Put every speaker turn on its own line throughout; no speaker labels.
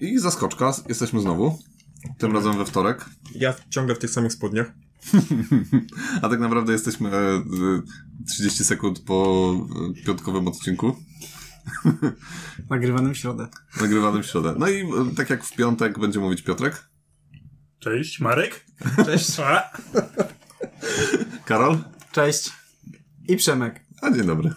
I zaskoczka, jesteśmy znowu. Tym razem we wtorek.
Ja ciągle w tych samych spodniach.
A tak naprawdę jesteśmy e, e, 30 sekund po e, piątkowym odcinku,
Nagrywanym w środę.
nagrywanym w środę. No i e, tak jak w piątek będzie mówić Piotrek.
Cześć, Marek.
Cześć.
A,
Karol?
Cześć. I Przemek.
A dzień dobry.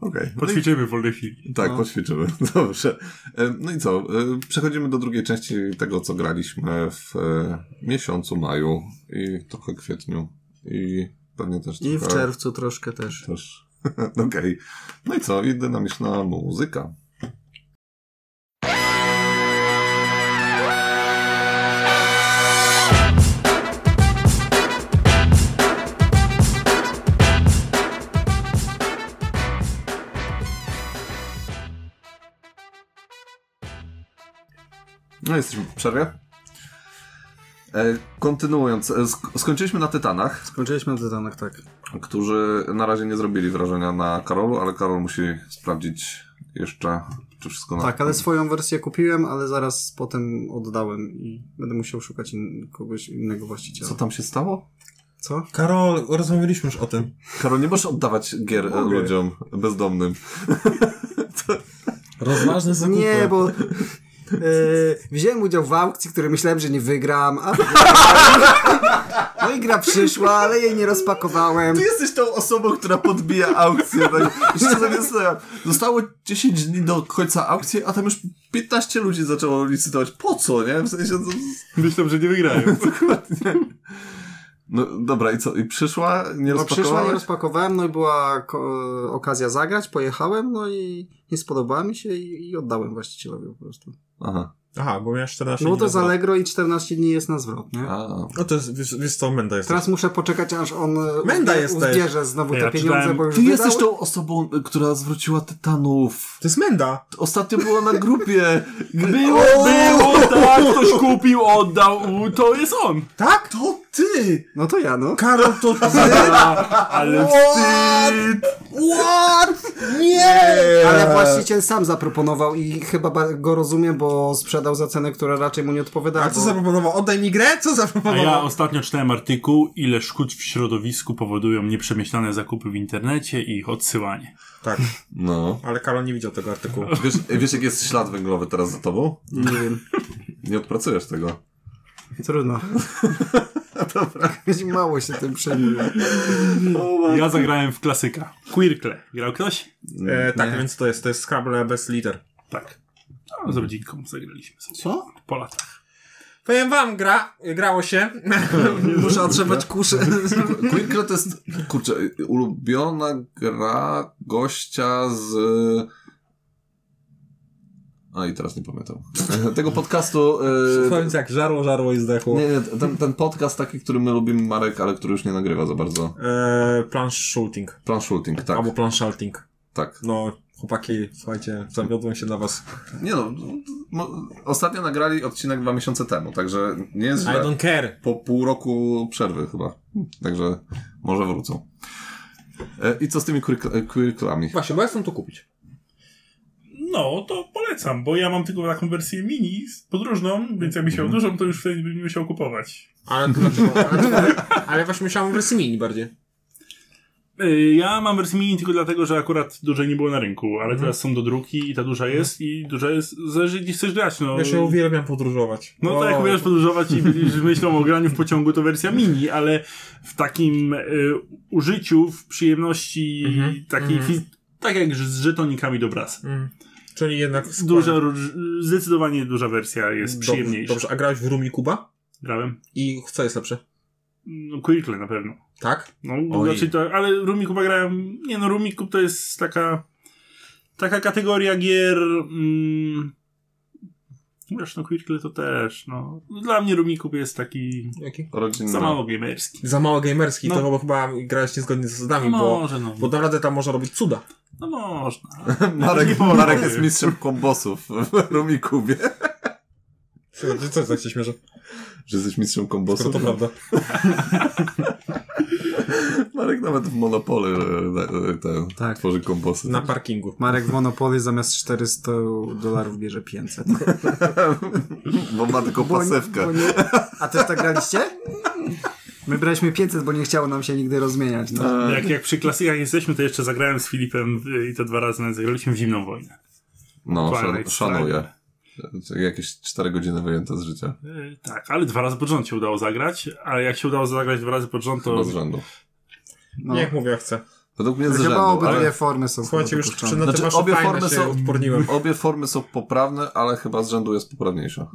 Okej. No i-
poćwiczymy w wolnej chwili.
Tak,
No.
poćwiczymy. Dobrze. E, No i co? e, Przechodzimy do drugiej części tego, co graliśmy w e, miesiącu maju i trochę kwietniu i pewnie też
I w
trochę...
czerwcu troszkę też.
Też. Okej. No i co? I dynamiczna muzyka. No jesteśmy w przerwie. E, kontynuując, e, sk- skończyliśmy na Tytanach
Skończyliśmy na Tytanach, tak.
którzy na razie nie zrobili wrażenia na Karolu, ale Karol musi sprawdzić jeszcze, czy wszystko na...
Tak, ale swoją wersję kupiłem, ale zaraz potem oddałem i będę musiał szukać in kogoś innego właściciela.
Co tam się stało?
Co?
Karol, rozmawialiśmy już o tym.
Karol, nie możesz oddawać gier e,
Mogę.
ludziom bezdomnym.
Rozważne zakupy.
No Nie, bo... Yy, wziąłem udział w aukcji, której myślałem, że nie wygram, a no i gra przyszła, ale jej nie rozpakowałem.
jesteś tą osobą, która podbija aukcję. Tak? Zostało 10 dni do końca aukcji, a tam już 15 ludzi zaczęło licytować. Po co, nie? W sensie...
Myślę, że nie wygrają.
No dobra, i co? I przyszła? Nie
No przyszła,
rozpakowała?
nie rozpakowałem, no i była ko- okazja zagrać, pojechałem, no i nie spodobała mi się i, i oddałem właścicielowi po prostu.
Aha.
Aha, bo miałeś 14
No
dni
to
na
z
zwrot.
Allegro i 14 dni jest na zwrot, nie?
A,
No to jest, wiesz, wiesz co, menda jest.
Teraz muszę poczekać, aż on e,
Menda
uzbie-
jesteś.
uzbierze znowu
Ja
te pieniądze,
czytałem-
bo już
Ty
wydał.
jesteś tą osobą, y, która zwróciła Tytanów.
To jest menda!
Ostatnio było na grupie.
Było, było, tak, ktoś kupił, oddał, u, to jest on.
Tak? To ty!
No to ja, no.
Karol, to ty!
A, ale wstyd.
What? Nie!
Ale właściciel sam zaproponował i chyba ba- go rozumiem, bo sprzedał za cenę, która raczej mu nie odpowiadała.
A co
bo-
zaproponował? Oddaj mi grę? Co
A
zaproponował?
ja ostatnio czytałem artykuł, ile szkód w środowisku powodują nieprzemyślane zakupy w internecie i ich odsyłanie.
Tak,
No.
ale Karol nie widział tego artykułu.
Wiesz, wiesz, jaki jest ślad węglowy teraz za tobą?
Nie wiem.
Nie odpracujesz tego.
Trudno. Dobra. Mało się tym przejmuje.
Ja zagrałem w klasyka. Quirkle. Grał ktoś?
E, tak, więc to jest, to jest Scrabble bez liter.
Tak. No, z rodzinką zagraliśmy sobie. Co? Po latach.
Powiem wam, gra, grało się.
Muszę odrzewać kuszę.
Quirkle to jest, kurczę, ulubiona gra gościa z... A i teraz nie pamiętam. Tego podcastu... y,
Powiem tak, żarło, żarło i zdechło.
Nie, nie, ten, ten podcast taki, który my lubimy, Marek, ale który już nie nagrywa za bardzo.
E, plan shooting.
Plan Shooting, tak,
Albo plan shouting.
tak.
No, chłopaki, słuchajcie, zawiodłem się na was.
Nie no, mo- ostatnio nagrali odcinek dwa miesiące temu, także nie jest
I
źle.
don't care.
po pół roku przerwy chyba. Także może wrócą. E, I co z tymi quirk- quirklami?
Właśnie, bo ja chcę to kupić.
No, to polecam, bo ja mam tylko taką wersję mini, podróżną, więc jakby się odurzą, to już wtedy bym nie musiał kupować.
Ale to dlaczego? Ale, to- ale właśnie myślałem o wersji mini bardziej.
Y, Ja mam wersję mini tylko dlatego, że akurat dużej nie było na rynku, ale
Mhm.
teraz są do druki i ta duża jest i duża jest, zależy gdzie chcesz grać, no.
Wiesz, Mhm. ja uwielbiam podróżować.
No
O,
tak, jak umiesz podróżować i będziesz myślą o graniu w pociągu, to wersja mini, ale w takim y, użyciu, w przyjemności
Mhm.
takiej,
Mhm.
fiz- tak jak z żetonikami do brasa.
Mm. Czyli jednak...
Duża, róż- zdecydowanie duża wersja jest
Dobrze,
przyjemniejsza.
Dobrze, a grałeś w Rumi Kuba?
Grałem?
I co jest lepsze?
No, Quirkle na pewno.
Tak?
No,
Oj.
znaczy to, ale Rumikuba grałem. Nie no, Rumikub to jest taka. Taka kategoria gier. Mm, wiesz, no Quirkle to też. No. Dla mnie Rumikub jest taki.
Jaki?
Rodzinne.
Za mało gamerski.
Za mało gamerski,
No.
to chyba, chyba grałeś niezgodnie z
No
zasadami, bo...
może, no.
Bo naprawdę tam można robić cuda.
No można. Nie
Marek,
powiem.
Marek jest mistrzem kombosów w Rumikubie.
Co, co tak się śmieszę?
Że jesteś mistrzem
Skoro
kombosów?
to prawda.
Marek nawet w Monopole e, e, ten,
Tak.
tworzy komposy.
Na parkingu.
Marek w Monopoly zamiast 400 dolarów bierze 500.
Bo ma tylko pasewkę.
Bo nie... A też tak graliście? My braliśmy 500, bo nie chciało nam się nigdy rozmieniać. No.
Jak, jak przy klasykach jesteśmy, to jeszcze zagrałem z Filipem w, i to dwa razy nawet zagraliśmy w Zimną Wojnę.
No, szan,
Twilight
szanuję. Jakieś 4 godziny wyjęte z życia.
E, tak, ale dwa razy pod rząd się udało zagrać, a jak się udało zagrać dwa razy pod rząd, to...
Chyba z rzędu.
No.
Niech mówię, jak chcę.
Według mnie z
Chyba
rzędu,
obydwie
ale
formy są
Słuchajcie, już
dopuszczone.
przy na te
Znaczy,
wasze
obie
fajne
formy
się
są-
odporniłem.
obie formy są poprawne, ale chyba z rzędu jest poprawniejsza.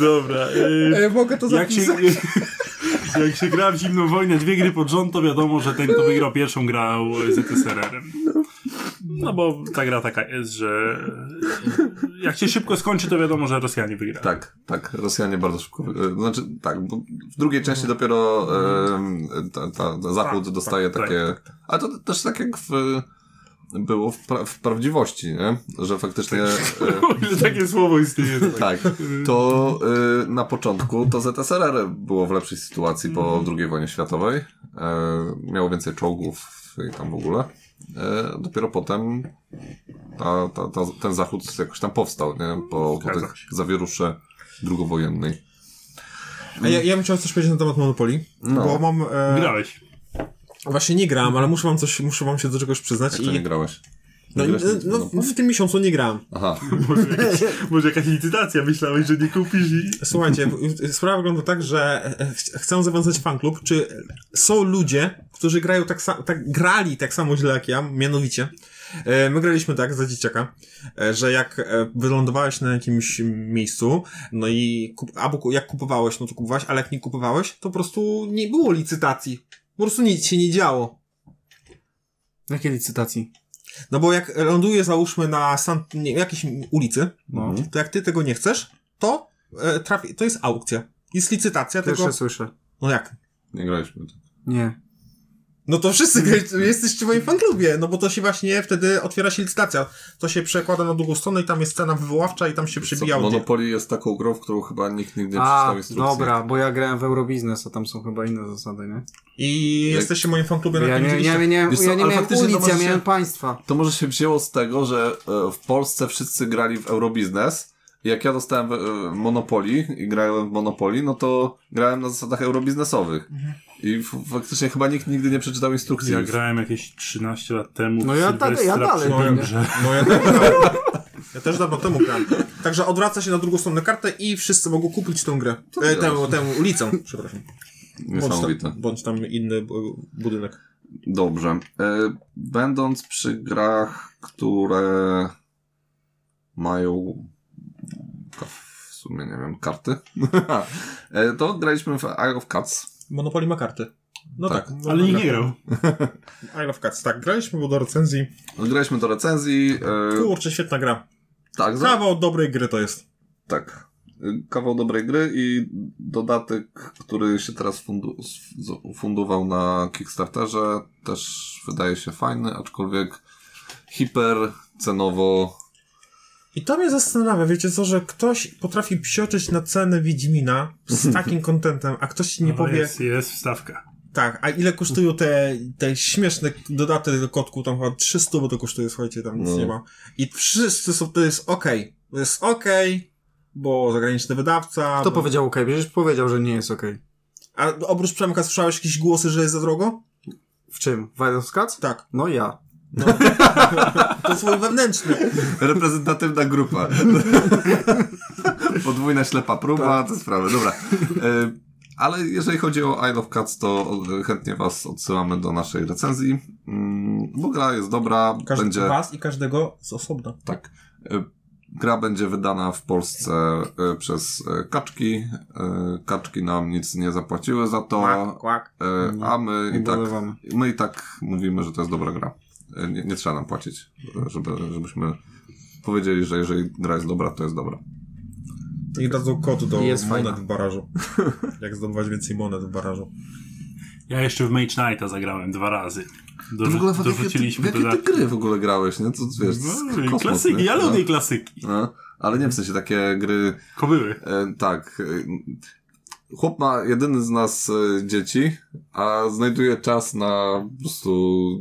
Dobra. e,
mogę to
jak, się, jak się gra w Zimną Wojnę dwie gry pod rząd, to wiadomo, że ten, kto wygrał pierwszą, grał z ETSRR-em. No bo ta gra taka jest, że jak się szybko skończy, to wiadomo, że Rosjanie wygrają.
Tak, tak. Rosjanie bardzo szybko. e, Znaczy, tak, bo w drugiej części dopiero em, ta, ta, ta Zachód
Tak,
dostaje
Mhm. tak,
takie. Ale to też tak jak w, było w, pra, w prawdziwości, nie? że faktycznie.
Tak.
e,
Ile takie słowo istnieje.
Tak, to y, na początku to ZSRR było w lepszej sytuacji po II wojnie światowej. E, miało więcej czołgów i tam w ogóle. E, dopiero potem ta, ta, ta, ten zachód jakoś tam powstał, nie? Po, po
Zgadza
tych
się.
zawierusze drugowojennej.
A ja, ja bym chciał coś powiedzieć na temat Monopoli,
No.
bo mam... E,
Grałeś.
Właśnie nie grałem, ale muszę wam coś, muszę wam się do czegoś przyznać
Jak to
i...
nie grałeś?
no,
Nie grałeś
no,
nic,
no, w tym miesiącu nie grałem.
Aha,
Może jakaś, może jakaś licytacja, myślałeś, że nie kupisz i...
Słuchajcie, w- sprawa wygląda tak, że e, ch- chcę zawiązać fanklub. Czy są ludzie, którzy grają tak samo, tak, grali tak samo źle jak ja, mianowicie. e, My graliśmy tak za dzieciaka, e, że jak e, wylądowałeś na jakimś miejscu, no i kup, albo ku- jak kupowałeś, no to kupowałeś, ale jak nie kupowałeś, to po prostu nie było licytacji. Po prostu nic się nie działo.
Jakie licytacji?
No bo jak lądujesz załóżmy na san, nie, jakiejś ulicy,
No.
to jak ty tego nie chcesz, to e, trafi, to jest aukcja. Jest licytacja,
Pierwsze
tylko...
słyszę.
No jak?
nie graliśmy.
Nie.
No to wszyscy grali- jesteście w moim fanklubie, no bo to się właśnie wtedy otwiera się licytacja. To się przekłada na długą stronę i tam jest cena wywoławcza i tam się przebija audio.
Monopoly jest taką grą, w którą chyba nikt nigdy nie
A,
przeczytał instrukcji.
dobra, bo ja grałem w Eurobiznes, a tam są chyba inne zasady, nie?
I jesteście w moim fanklubie na
Ja
tym
nie, ja nie,
widzieliście.
miałem-
Wiesz co,
ja nie
ale
miałem
faktycznie to
ulic, ja
może się-
miałem państwa.
To może się wzięło z tego, że e, w Polsce wszyscy grali w Eurobiznes. Jak ja dostałem e, Monopoli i grałem w Monopoli, no to grałem na zasadach eurobiznesowych. I f- faktycznie chyba nikt nigdy nie przeczytał instrukcji.
Ja grałem jakieś 13 lat temu.
No
w
ja
Sylwestra
dalej- ja dalej
przy
bym-
tym, że-
No ja tak grałem. Ja też dawno temu grałem. Także odwraca się na drugą stronę kartę i wszyscy mogą kupić tą grę. E, tę, tę ulicę, przepraszam. Bądź
Niesamowite.
tam, bądź tam inny e, budynek.
Dobrze. E, Będąc przy grach, które mają ka- w sumie, nie wiem, karty, e, to graliśmy w Eye of Cats.
Monopoly ma karty. No
Tak.
tak.
Ale nikt nie grał.
I Love Cats, tak. Graliśmy bo do recenzji.
Graliśmy do recenzji. e,
Kurczę, świetna gra.
Tak, za-
Kawał dobrej gry to jest.
Tak. Y, Kawał dobrej gry i dodatek, który się teraz fundu- z- fundował na Kickstarterze, też wydaje się fajny, aczkolwiek hipercenowo.
I to mnie zastanawia, wiecie co, że ktoś potrafi psioczyć na cenę Wiedźmina z takim kontentem, a ktoś ci nie
No
powie,
Jest, jest wstawka.
tak, a ile kosztują te, te śmieszne dodaty do kotku, tam chyba 300, bo to kosztuje, słuchajcie, tam nic
No.
nie ma. I wszyscy są, to jest okej, to jest okej, bo zagraniczny wydawca.
Kto
bo...
powiedział okej? Przecież powiedział, że nie jest okej.
A oprócz Przemka słyszałeś jakieś głosy, że jest za drogo?
W czym? W Wild Cats?
Tak.
No ja.
To swój wewnętrzny.
Reprezentatywna grupa. Podwójna ślepa próba, te sprawy. Dobra. Y, Ale jeżeli chodzi o Isle of Cats, to y, chętnie Was odsyłamy do naszej recenzji, Mm, bo gra jest dobra.
Każdy
będzie...
was i każdego z osobna.
Tak. Y, Gra będzie wydana w Polsce y, przez y, kaczki. Y, Kaczki nam nic nie zapłaciły za to,
Kłak, kłak.
y, a my i tak,
Ubolewamy.
my i tak mówimy, że to jest dobra gra. Y, Nie, nie trzeba nam płacić, żeby, żebyśmy powiedzieli, że jeżeli gra jest dobra, to jest dobra.
I dadzą kod do
I jest
monet
fajna.
w barażu. Jak zdobywać więcej monet w barażu.
Ja jeszcze w Mage Knighta zagrałem dwa razy.
To w ogóle w jakie, ty, w
dorzuciliśmy
jakie ty
dodatki.
gry w ogóle grałeś, nie? To wiesz, to jest
No,
kosmos,
klasyki,
nie?
ja
No.
lubię klasyki.
No. Ale nie w sensie takie gry,
Kobyły.
e, tak. e, Chłop ma jedyny z nas e, dzieci, a znajduje czas na po prostu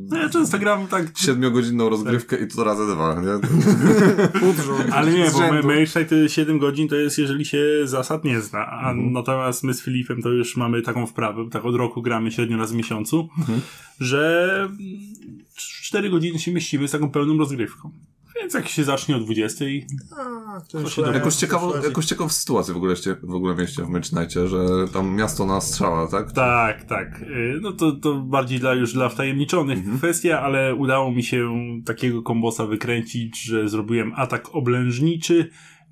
No ja często gram tak,
siedmiogodzinną rozgrywkę i to razy dwa, nie?
Udrząd.
ale nie,
z
bo
rzędu.
Mayshaj to 7 godzin to jest, jeżeli się zasad nie zna, a natomiast my z Filipem to już mamy taką wprawę, bo tak od roku gramy średnio raz w miesiącu, że 4 godziny się mieścimy z taką pełną rozgrywką. Więc jak się zacznie o 20,
A, to już
się
lepiej,
Jakąś
to
ciekawą,
już
jakąś ciekawą sytuację w ogóle, ście- w ogóle mieliście w Mecznajcie, że tam miasto na strzała, tak?
tak, tak, y, no to, to bardziej dla już dla wtajemniczonych kwestia, ale udało mi się takiego kombosa wykręcić, że zrobiłem atak oblężniczy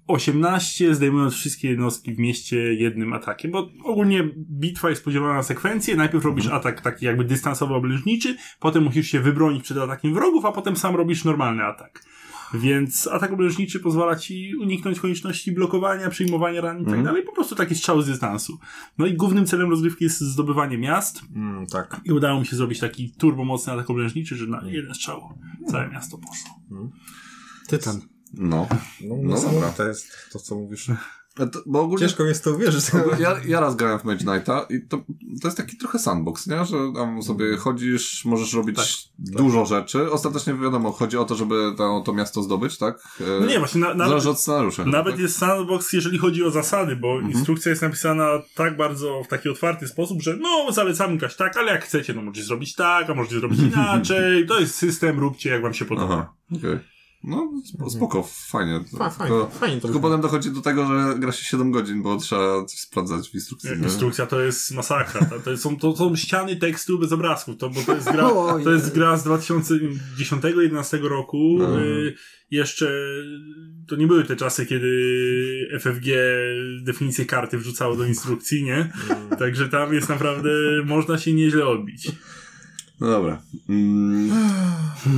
18, zdejmując wszystkie jednostki w mieście jednym atakiem, bo ogólnie bitwa jest podzielona na sekwencje, najpierw robisz atak taki jakby dystansowo oblężniczy, potem musisz się wybronić przed atakiem wrogów, a potem sam robisz normalny atak. Więc atak oblężniczy pozwala ci uniknąć konieczności blokowania, przyjmowania ran i tak dalej, po prostu takie strzały z dystansu. No i głównym celem rozgrywki jest zdobywanie miast
Mm, tak.
i udało mi się zrobić taki turbomocny atak oblężniczy, że na jeden strzał całe miasto poszło.
Tytan.
No.
No,
No dobra.
to jest to, co mówisz.
E, To, bo ogólnie...
Ciężko mi jest to uwierzyć.
Ja, ja raz grałem w Mage Knighta i to, to jest taki trochę sandbox, nie? Że tam sobie
Mhm.
chodzisz, możesz robić
Tak,
dużo rzeczy. Ostatecznie wiadomo, chodzi o to, żeby to, to miasto zdobyć, tak? E,
No nie, właśnie na, nawet,
Zależy od scenariusza.
nawet
tak?
jest sandbox, jeżeli chodzi o zasady, bo instrukcja jest napisana tak bardzo w taki otwarty sposób, że no, zalecamy grać tak, ale jak chcecie, no możecie zrobić tak, a możecie zrobić inaczej, to jest system, róbcie jak wam się podoba.
Aha, okej. No, sp- spoko, fajnie.
A, fajnie,
Tylko-
fajnie to
Tylko
brzmi.
potem dochodzi do tego, że gra się 7 godzin, bo trzeba coś sprawdzać w instrukcji.
Mhm.
nie?
Instrukcja to jest masakra. tak? To, to, są, to są ściany tekstu bez obrazków, to, bo to jest gra,
Oj.
to jest gra z 2010-2011 roku. Y, jeszcze to nie były te czasy, kiedy FFG definicję karty wrzucało do instrukcji, nie? Także tam jest naprawdę, można się nieźle odbić.
No dobra. Mm,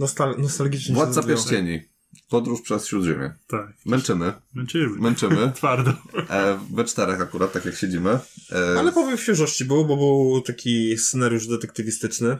Nostal nostalgicznie się
Władca
zrobiło.
Pierścieni. Podróż przez Śródziemie.
Tak,
Męczymy,
męczymy.
męczymy.
Twardo.
E, we czterech akurat, tak jak siedzimy. E,
Ale powiem w świeżości był, bo był taki scenariusz detektywistyczny.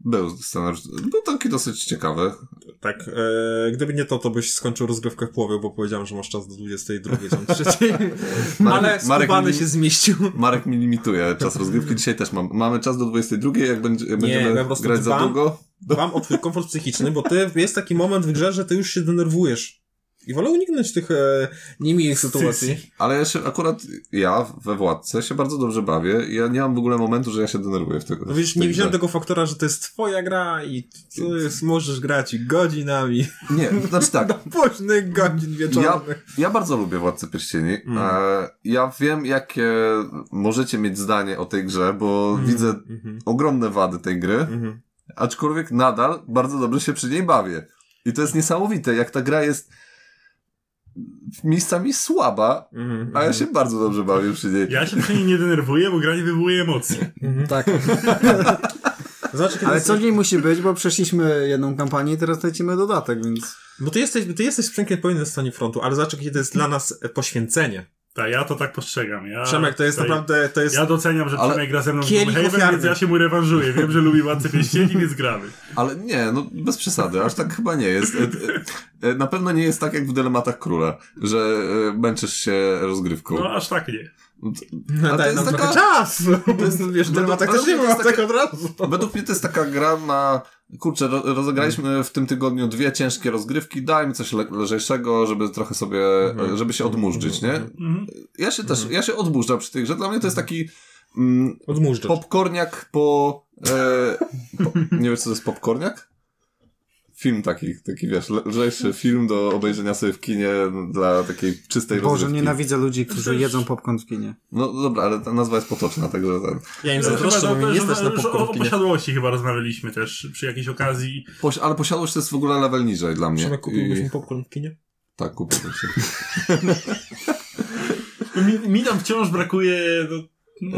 Był scenariusz, był taki dosyć ciekawy.
Tak, e, gdyby nie to, to byś skończył rozgrywkę w połowie, bo powiedziałem, że masz czas do 22, tam 3. Ale skubany
mi,
się zmieścił.
Marek mi limituje czas rozgrywki, dzisiaj też mam. Mamy czas do 22, jak będzie, jak
ja
będziemy
po prostu
grać za
dbam.
długo.
Dbam o twój komfort psychiczny, bo ty jest taki moment w grze, że ty już się denerwujesz. I wolę uniknąć tych e, niemich sytuacji.
Ale ja się, akurat ja we Władce się bardzo dobrze bawię i ja nie mam w ogóle momentu, że ja się denerwuję w tego.
No wiesz,
w tej
nie widziałem
grze.
tego faktora, że to jest twoja gra i to jest, możesz grać godzinami.
Nie, znaczy tak.
Do późnych godzin
Ja,
wieczornych.
ja bardzo lubię Władcę Pierścieni.
Mm.
E, ja wiem, jakie możecie mieć zdanie o tej grze, bo widzę
Mhm.
ogromne wady tej gry,
Mhm.
aczkolwiek nadal bardzo dobrze się przy niej bawię. I to jest niesamowite, jak ta gra jest miejscami słaba,
Mhm.
a ja się bardzo dobrze bawię przy niej.
Ja się przy niej nie denerwuję, bo gra nie wywołuje emocji.
Tak.
Zobacz, kiedy
Ale
jest-
co w niej musi być, bo przeszliśmy jedną kampanię i teraz lecimy dodatek, więc...
Bo ty jesteś, ty jesteś sprzęgiem po innej stronie frontu, ale zobacz, jakie to jest dla nas e, poświęcenie.
Tak, ja to tak postrzegam. Ja,
Przemek, to jest
tutaj-
naprawdę, to jest...
Tak. Ja doceniam, że
Ale
Przemek gra ze mną w
kielich
Gloomhaven,
ofiarny.
więc ja się mu rewanżuję. Wiem, że lubi Władcę Pierścieni, więc gramy.
Ale nie, no bez przesady, aż tak chyba nie jest. E, e, e, Na pewno nie jest tak jak w Dylematach Króla, że e, męczysz się rozgrywką.
No aż tak nie.
No,
to
daj
jest
nam
taka-
trochę czas! To jest,
według-
wiesz, dylemat tak
ale
też nie
to
ma,
jest
tak
takie-
od razu.
Według mnie to jest taka gra na... Kurczę, ro- rozegraliśmy w tym tygodniu dwie ciężkie rozgrywki, dajmy coś le lżejszego, żeby trochę sobie, e, żeby się odmurzyć, nie?
Mhm.
Ja się też, ja się odmurzam przy tych, że dla mnie to jest taki mm,
Odmóżdżasz.
popcorniak po, e, po... Nie wiesz, co to jest popcorniak? Film taki, taki wiesz, le- lżejszy film do obejrzenia sobie w kinie dla takiej czystej
Boże,
rozrywki.
nienawidzę ludzi, którzy jedzą popcorn w kinie.
No dobra, ale ta nazwa jest potoczna, także ten.
Ja im
Chyba
zazdroszczę, znaczy, bo
to-
mnie nie
że-
stać
że
na
o,
popcorn
o
w kinie.
posiadłości chyba rozmawialiśmy też przy jakiejś okazji.
Poś... Ale posiadłość to jest w ogóle level niżej dla mnie.
Przemek, kupiłbyś mi
I...
popcorn w kinie?
Tak, kupiłbym się.
No, Mi, mi tam wciąż brakuje no,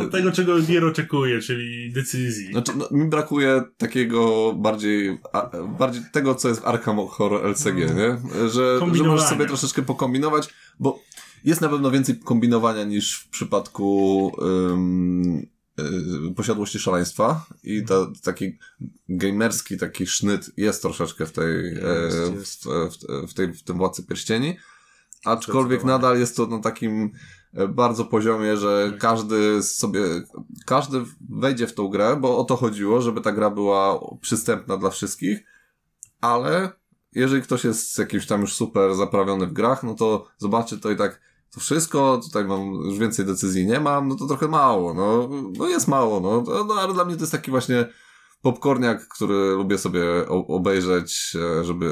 no, tego, czego Gier oczekuje, czyli decyzji.
Znaczy, no, mi brakuje takiego bardziej, a, bardziej tego, co jest w Arkham Horror LCG, nie? Że, że
Kombinowanie.
możesz sobie troszeczkę pokombinować, bo jest na pewno więcej kombinowania niż w przypadku ym, y, posiadłości szaleństwa i ta, taki gamerski taki sznyt jest troszeczkę w tej, e,
Jest,
w, w, w, tej, w tym Władcy Pierścieni, Aczkolwiek
Zdecydowanie.
nadal jest to na takim e, bardzo poziomie, że każdy sobie, każdy wejdzie w tą grę, bo o to chodziło, żeby ta gra była przystępna dla wszystkich, ale jeżeli ktoś jest jakimś tam już super zaprawiony w grach, no to zobaczy to i tak to wszystko, tutaj mam, już więcej decyzji nie mam, no to trochę mało, no, no jest mało, no, to- no ale dla mnie to jest taki właśnie popcorniak, który lubię sobie o- obejrzeć, e, żeby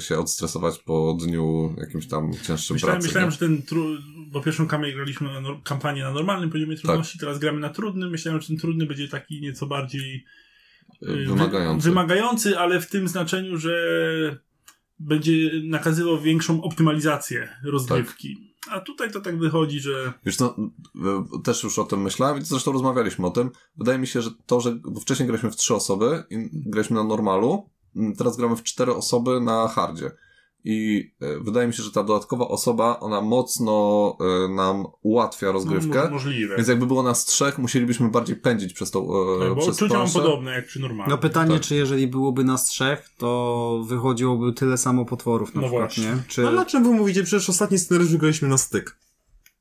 się odstresować po dniu jakimś tam cięższym
Myślałem,
pracy.
no.
myślałem
nie?
że ten tru... bo pierwszą kampanię graliśmy na nor... kampanię na normalnym poziomie trudności,
Tak.
teraz gramy na trudnym. Myślałem, że ten trudny będzie taki nieco bardziej y, wy-
Wymagający.
wymagający, ale w tym znaczeniu, że będzie nakazywał większą optymalizację rozgrywki. A tutaj to tak wychodzi, że
Wiesz, no, e, też już o tym myślałem i zresztą rozmawialiśmy o tym. Wydaje mi się, że to, że bo wcześniej graliśmy w trzy osoby i graliśmy na normalu, m, teraz gramy w cztery osoby na hardzie. I e, wydaje mi się, że ta dodatkowa osoba, ona mocno e, nam ułatwia rozgrywkę.
No, możliwe.
Więc jakby było nas trzech, musielibyśmy bardziej pędzić przez tą e,
Tak, bo
przez
odczucia mam
planszę.
podobne jak przy normalnym.
No pytanie,
Tak.
czy jeżeli byłoby nas trzech, to wychodziłoby tyle samo potworów na
No
przykład,
właśnie.
nie? Czy...
No na czym wy mówicie? Przecież ostatni scenariusz graliśmy na styk.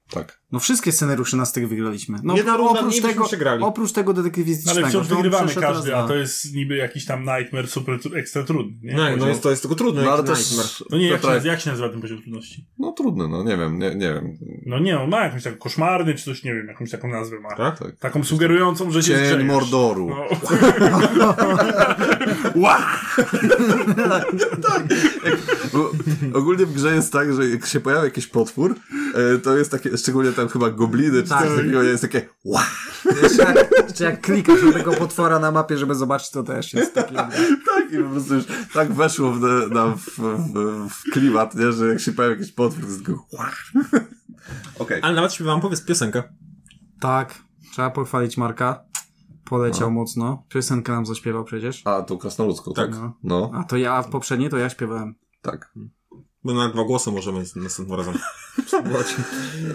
Tak.
No wszystkie scenariusze nas tych wygraliśmy. No
Jedna runda
oprócz
mniej byśmy
tego,
przegrali.
oprócz tego detektywistycznego.
ale wciąż
to
wygrywamy
przeszedł raz
każdy,
dwa.
a to jest niby jakiś tam nightmare super tru- ekstra trudny. Nie?
No, no
Poziom-
jest, to jest tylko trudne.
No ale
jaki
też...
nightmare.
No nie, jak się,
Piotrek,
jak się nazywa ten poziom trudności?
No trudny, no nie wiem, nie, nie wiem.
No nie, on ma jakąś taką koszmarny, czy coś, nie wiem, jakąś taką nazwę ma.
Tak?
Tak.
Taką sugerującą, że się
Cień
zgrzejesz.
Mordoru.
No.
Tak. Bo ogólnie w grze jest tak, że jak się pojawia jakiś potwór, e, to jest takie, szczególnie tam chyba gobliny czy
Tak.
coś takiego, jest takie ła!
Jeszcze jak, jeszcze jak klikasz na tego potwora na mapie, żeby zobaczyć, to też jest taki...
Tak i po prostu już tak weszło w, nam w, w, w klimat, nie? że jak się pojawia jakiś potwór, to jest tylko ła! Okej.
Ale nawet śpiewam, powiedz piosenkę.
Tak, trzeba pochwalić Marka.
No.
Poleciał mocno. Piosenkę nam zaśpiewał przecież.
A, tą krasnoludzką, tak?
No.
No,
A to ja, a w poprzedniej to ja śpiewałem.
tak.
Bo na dwa głosy możemy z- następnym razem. spróbować.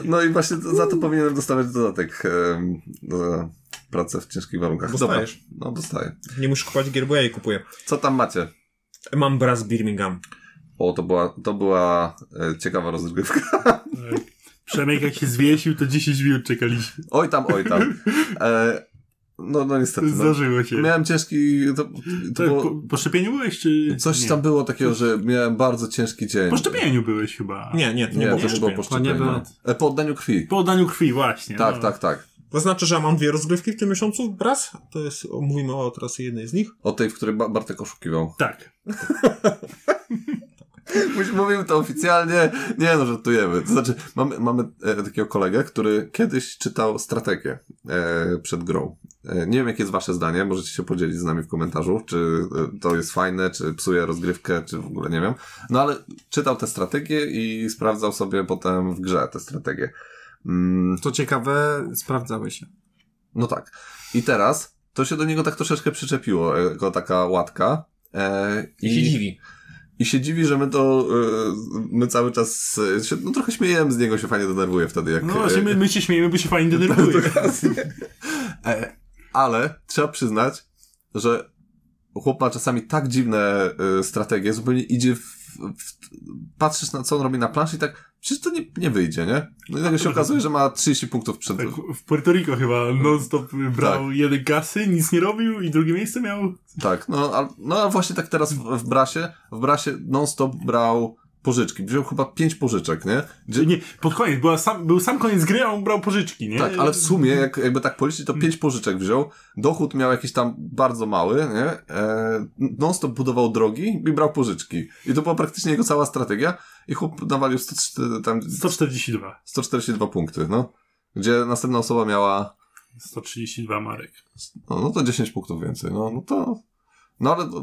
No i właśnie to- za to powinienem dostawać dodatek em, za pracę w ciężkich warunkach.
Dostajesz.
Dobra. No, dostaję.
nie musisz kupować gier, bo ja je kupuję.
Co tam macie?
Mam Brass Birmingham.
O, to była, to była e, ciekawa rozgrywka.
Przemek jak się zwiesił, to 10 minut czekaliśmy.
Oj tam, oj tam. E, no, no niestety. No.
Zdarzyło się.
Miałem ciężki... To, to
Tak,
było,
po, po szczepieniu byłeś, czy...
coś
nie?
tam było takiego, że miałem bardzo ciężki dzień.
Po szczepieniu byłeś chyba.
Nie, nie, to nie,
Nie,
było
to nie było po
po...
szczepieniu.
nie było.
E, Po oddaniu krwi.
Po oddaniu krwi, właśnie.
Tak,
no.
tak, tak.
To znaczy, że ja mam dwie rozgrywki w tym miesiącu, Brass. To jest, o, mówimy o teraz jednej z nich.
O tej, w której Ba- Bartek oszukiwał.
Tak.
Musi- Mówimy to oficjalnie. Nie no, żartujemy. To znaczy, mamy, mamy e, takiego kolegę, który kiedyś czytał strategię e, przed grą. E, nie wiem, jakie jest wasze zdanie, możecie się podzielić z nami w komentarzu, czy e, to jest fajne, czy psuje rozgrywkę, czy w ogóle nie wiem. No ale czytał te strategie i sprawdzał sobie potem w grze te strategie. Mm,
To ciekawe, sprawdzały się.
no tak. I teraz to się do niego tak troszeczkę przyczepiło, e, jako taka łatka. E,
dziwi.
i się dziwi, że my to, e, my cały czas e, się, no trochę śmiejemy z niego, się fajnie denerwuje wtedy, jak...
No właśnie, my, my się śmiejemy, bo się fajnie denerwuje.
Tak. e, ale trzeba przyznać, że chłop ma czasami tak dziwne e, strategie, zupełnie idzie w, w... Patrzysz na co on robi na planszy i tak, przecież to nie, nie wyjdzie, nie? No i nagle się okazuje, że ma 30 punktów przed...
Tak, w Puerto Rico chyba non-stop brał jeden kasy, nic nie robił i drugie miejsce miał.
Tak, no a, no a właśnie tak teraz w, w Brasie, w Brasie non-stop brał pożyczki, wziął chyba 5 pożyczek, nie? Gdzie,
Nie, pod koniec, była sam, był sam koniec gry, a on brał pożyczki, nie?
Tak, ale w sumie, jak, jakby tak policzyć, to pięć pożyczek wziął. Dochód miał jakiś tam bardzo mały, nie? E, non-stop budował drogi i brał pożyczki. I to była praktycznie jego cała strategia. I chłop nawalił 104, tam
142.
142 punkty, no. Gdzie następna osoba miała,
132 Marek.
no, no to 10 punktów więcej, no, no to... No ale... To,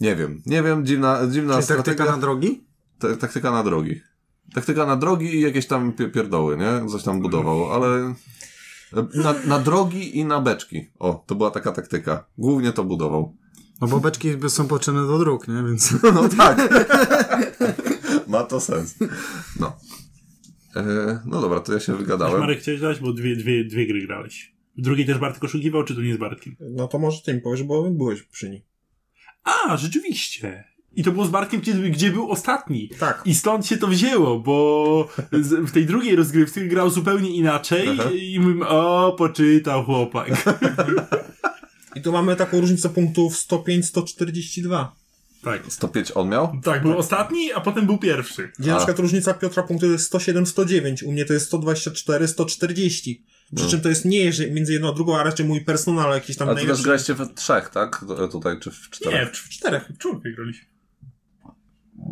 nie wiem, nie wiem, dziwna, dziwna
Czyli
strategia.
taktyka na drogi?
Ta- taktyka na drogi. Taktyka na drogi i jakieś tam pie- pierdoły, nie? Coś tam budował, ale na, na drogi i na beczki. O, to była taka taktyka. Głównie to budował.
No bo beczki by- są potrzebne do dróg, nie? Więc...
No tak. Ma to sens. No. E, no dobra, to ja się wygadałem.
Marek chciałeś dać, bo dwie, dwie, dwie gry grałeś. W drugiej też Bartek oszukiwał, czy to nie z Bartkiem?
No to może ty mi powiesz, bo byłeś przy niej.
A, rzeczywiście. I to było z Bartkiem, gdzie, gdzie był ostatni.
Tak.
I stąd się to wzięło, bo z, w tej drugiej rozgrywce grał zupełnie inaczej i mówimy, o, poczytał chłopak.
I tu mamy taką różnicę punktów 105-142.
tak.
105 on miał?
Tak, był ostatni, a potem był pierwszy.
Gdzie na przykład różnica Piotra punktu to jest 107-109, u mnie to jest 124-140. Przy czym to jest nie że między jedną a drugą, a raczej mój personal jakiś tam
Ale ty też
najlepszy.
graliście w trzech, tak? D- Tutaj czy w
Nie,
czterech?
w cz- w czterech, w czwórkę graliśmy.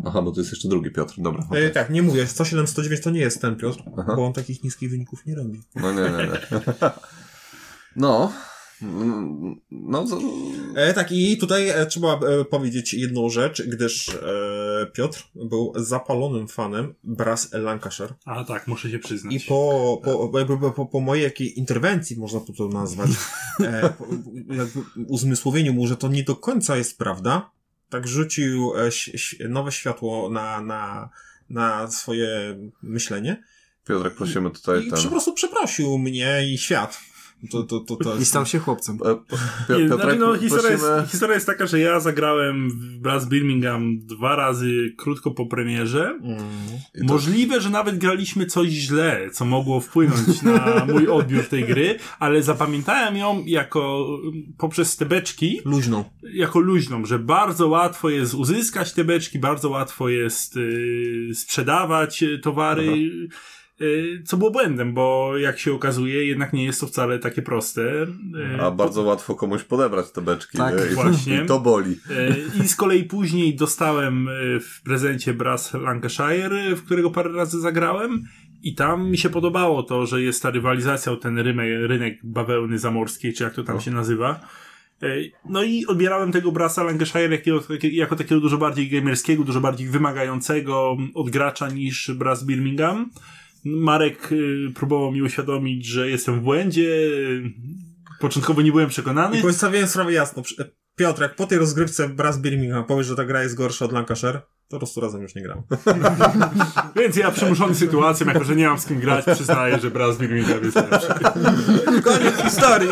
Aha, bo tu jest jeszcze drugi Piotr, dobra.
E, tak, nie mówię, 107-109 to nie jest ten Piotr, bo on takich niskich wyników nie robi.
No nie, nie, nie. No. Mm, No, z-
E, tak, i tutaj e, trzeba e, powiedzieć jedną rzecz, gdyż e, Piotr był zapalonym fanem Brass Lancashire.
A tak, muszę się przyznać.
I po, po, jakby, po- po, po mojej jakiej interwencji, można to, to nazwać, e, po, jakby uzmysłowieniu mu, że to nie do końca jest prawda, tak rzucił e, ś, ś, nowe światło na, na, na swoje myślenie
Piotrek, prosimy tutaj
i po
ten...
prostu przeprosił mnie i świat. To, to, to, to
I
jest...
stał się chłopcem.
E, Pi-
Nie,
Piotrek,
znaczy, no, historia,
prosimy...
jest, historia jest taka, że ja zagrałem w Brass Birmingham dwa razy krótko po premierze.
Mm.
I to-
Możliwe, że nawet graliśmy coś źle, co mogło wpłynąć na mój odbiór tej gry, ale zapamiętałem ją jako poprzez te beczki,
Luźną.
jako luźną, że bardzo łatwo jest uzyskać te beczki, bardzo łatwo jest y, sprzedawać y, towary, y, co było błędem, bo jak się okazuje, jednak nie jest to wcale takie proste. Y,
A bardzo łatwo komuś podebrać te beczki.
Tak,
nie? I,
właśnie.
I to boli.
E, I z kolei później dostałem e, w prezencie Brass Lancashire, w którego parę razy zagrałem. I tam mi się podobało to, że jest ta rywalizacja o ten rynek, rynek bawełny zamorskiej, czy jak to tam się nazywa. E, No i odbierałem tego Brasa Lancashire jako, jako takiego dużo bardziej gamerskiego, dużo bardziej wymagającego od gracza niż Brass Birmingham. Marek y, próbował mi uświadomić, że jestem w błędzie. e, Początkowo nie byłem przekonany.
I postawiłem sprawę jasno. Przy- Piotr, jak po tej rozgrywce Brass Birmingham powiesz, że ta gra jest gorsza od Lancashire, to po prostu razem już nie gram.
Więc ja przymuszony sytuacją, jako że nie mam z kim grać, przyznaję, że Brass Birmingham jest lepszy.
Koniec historii!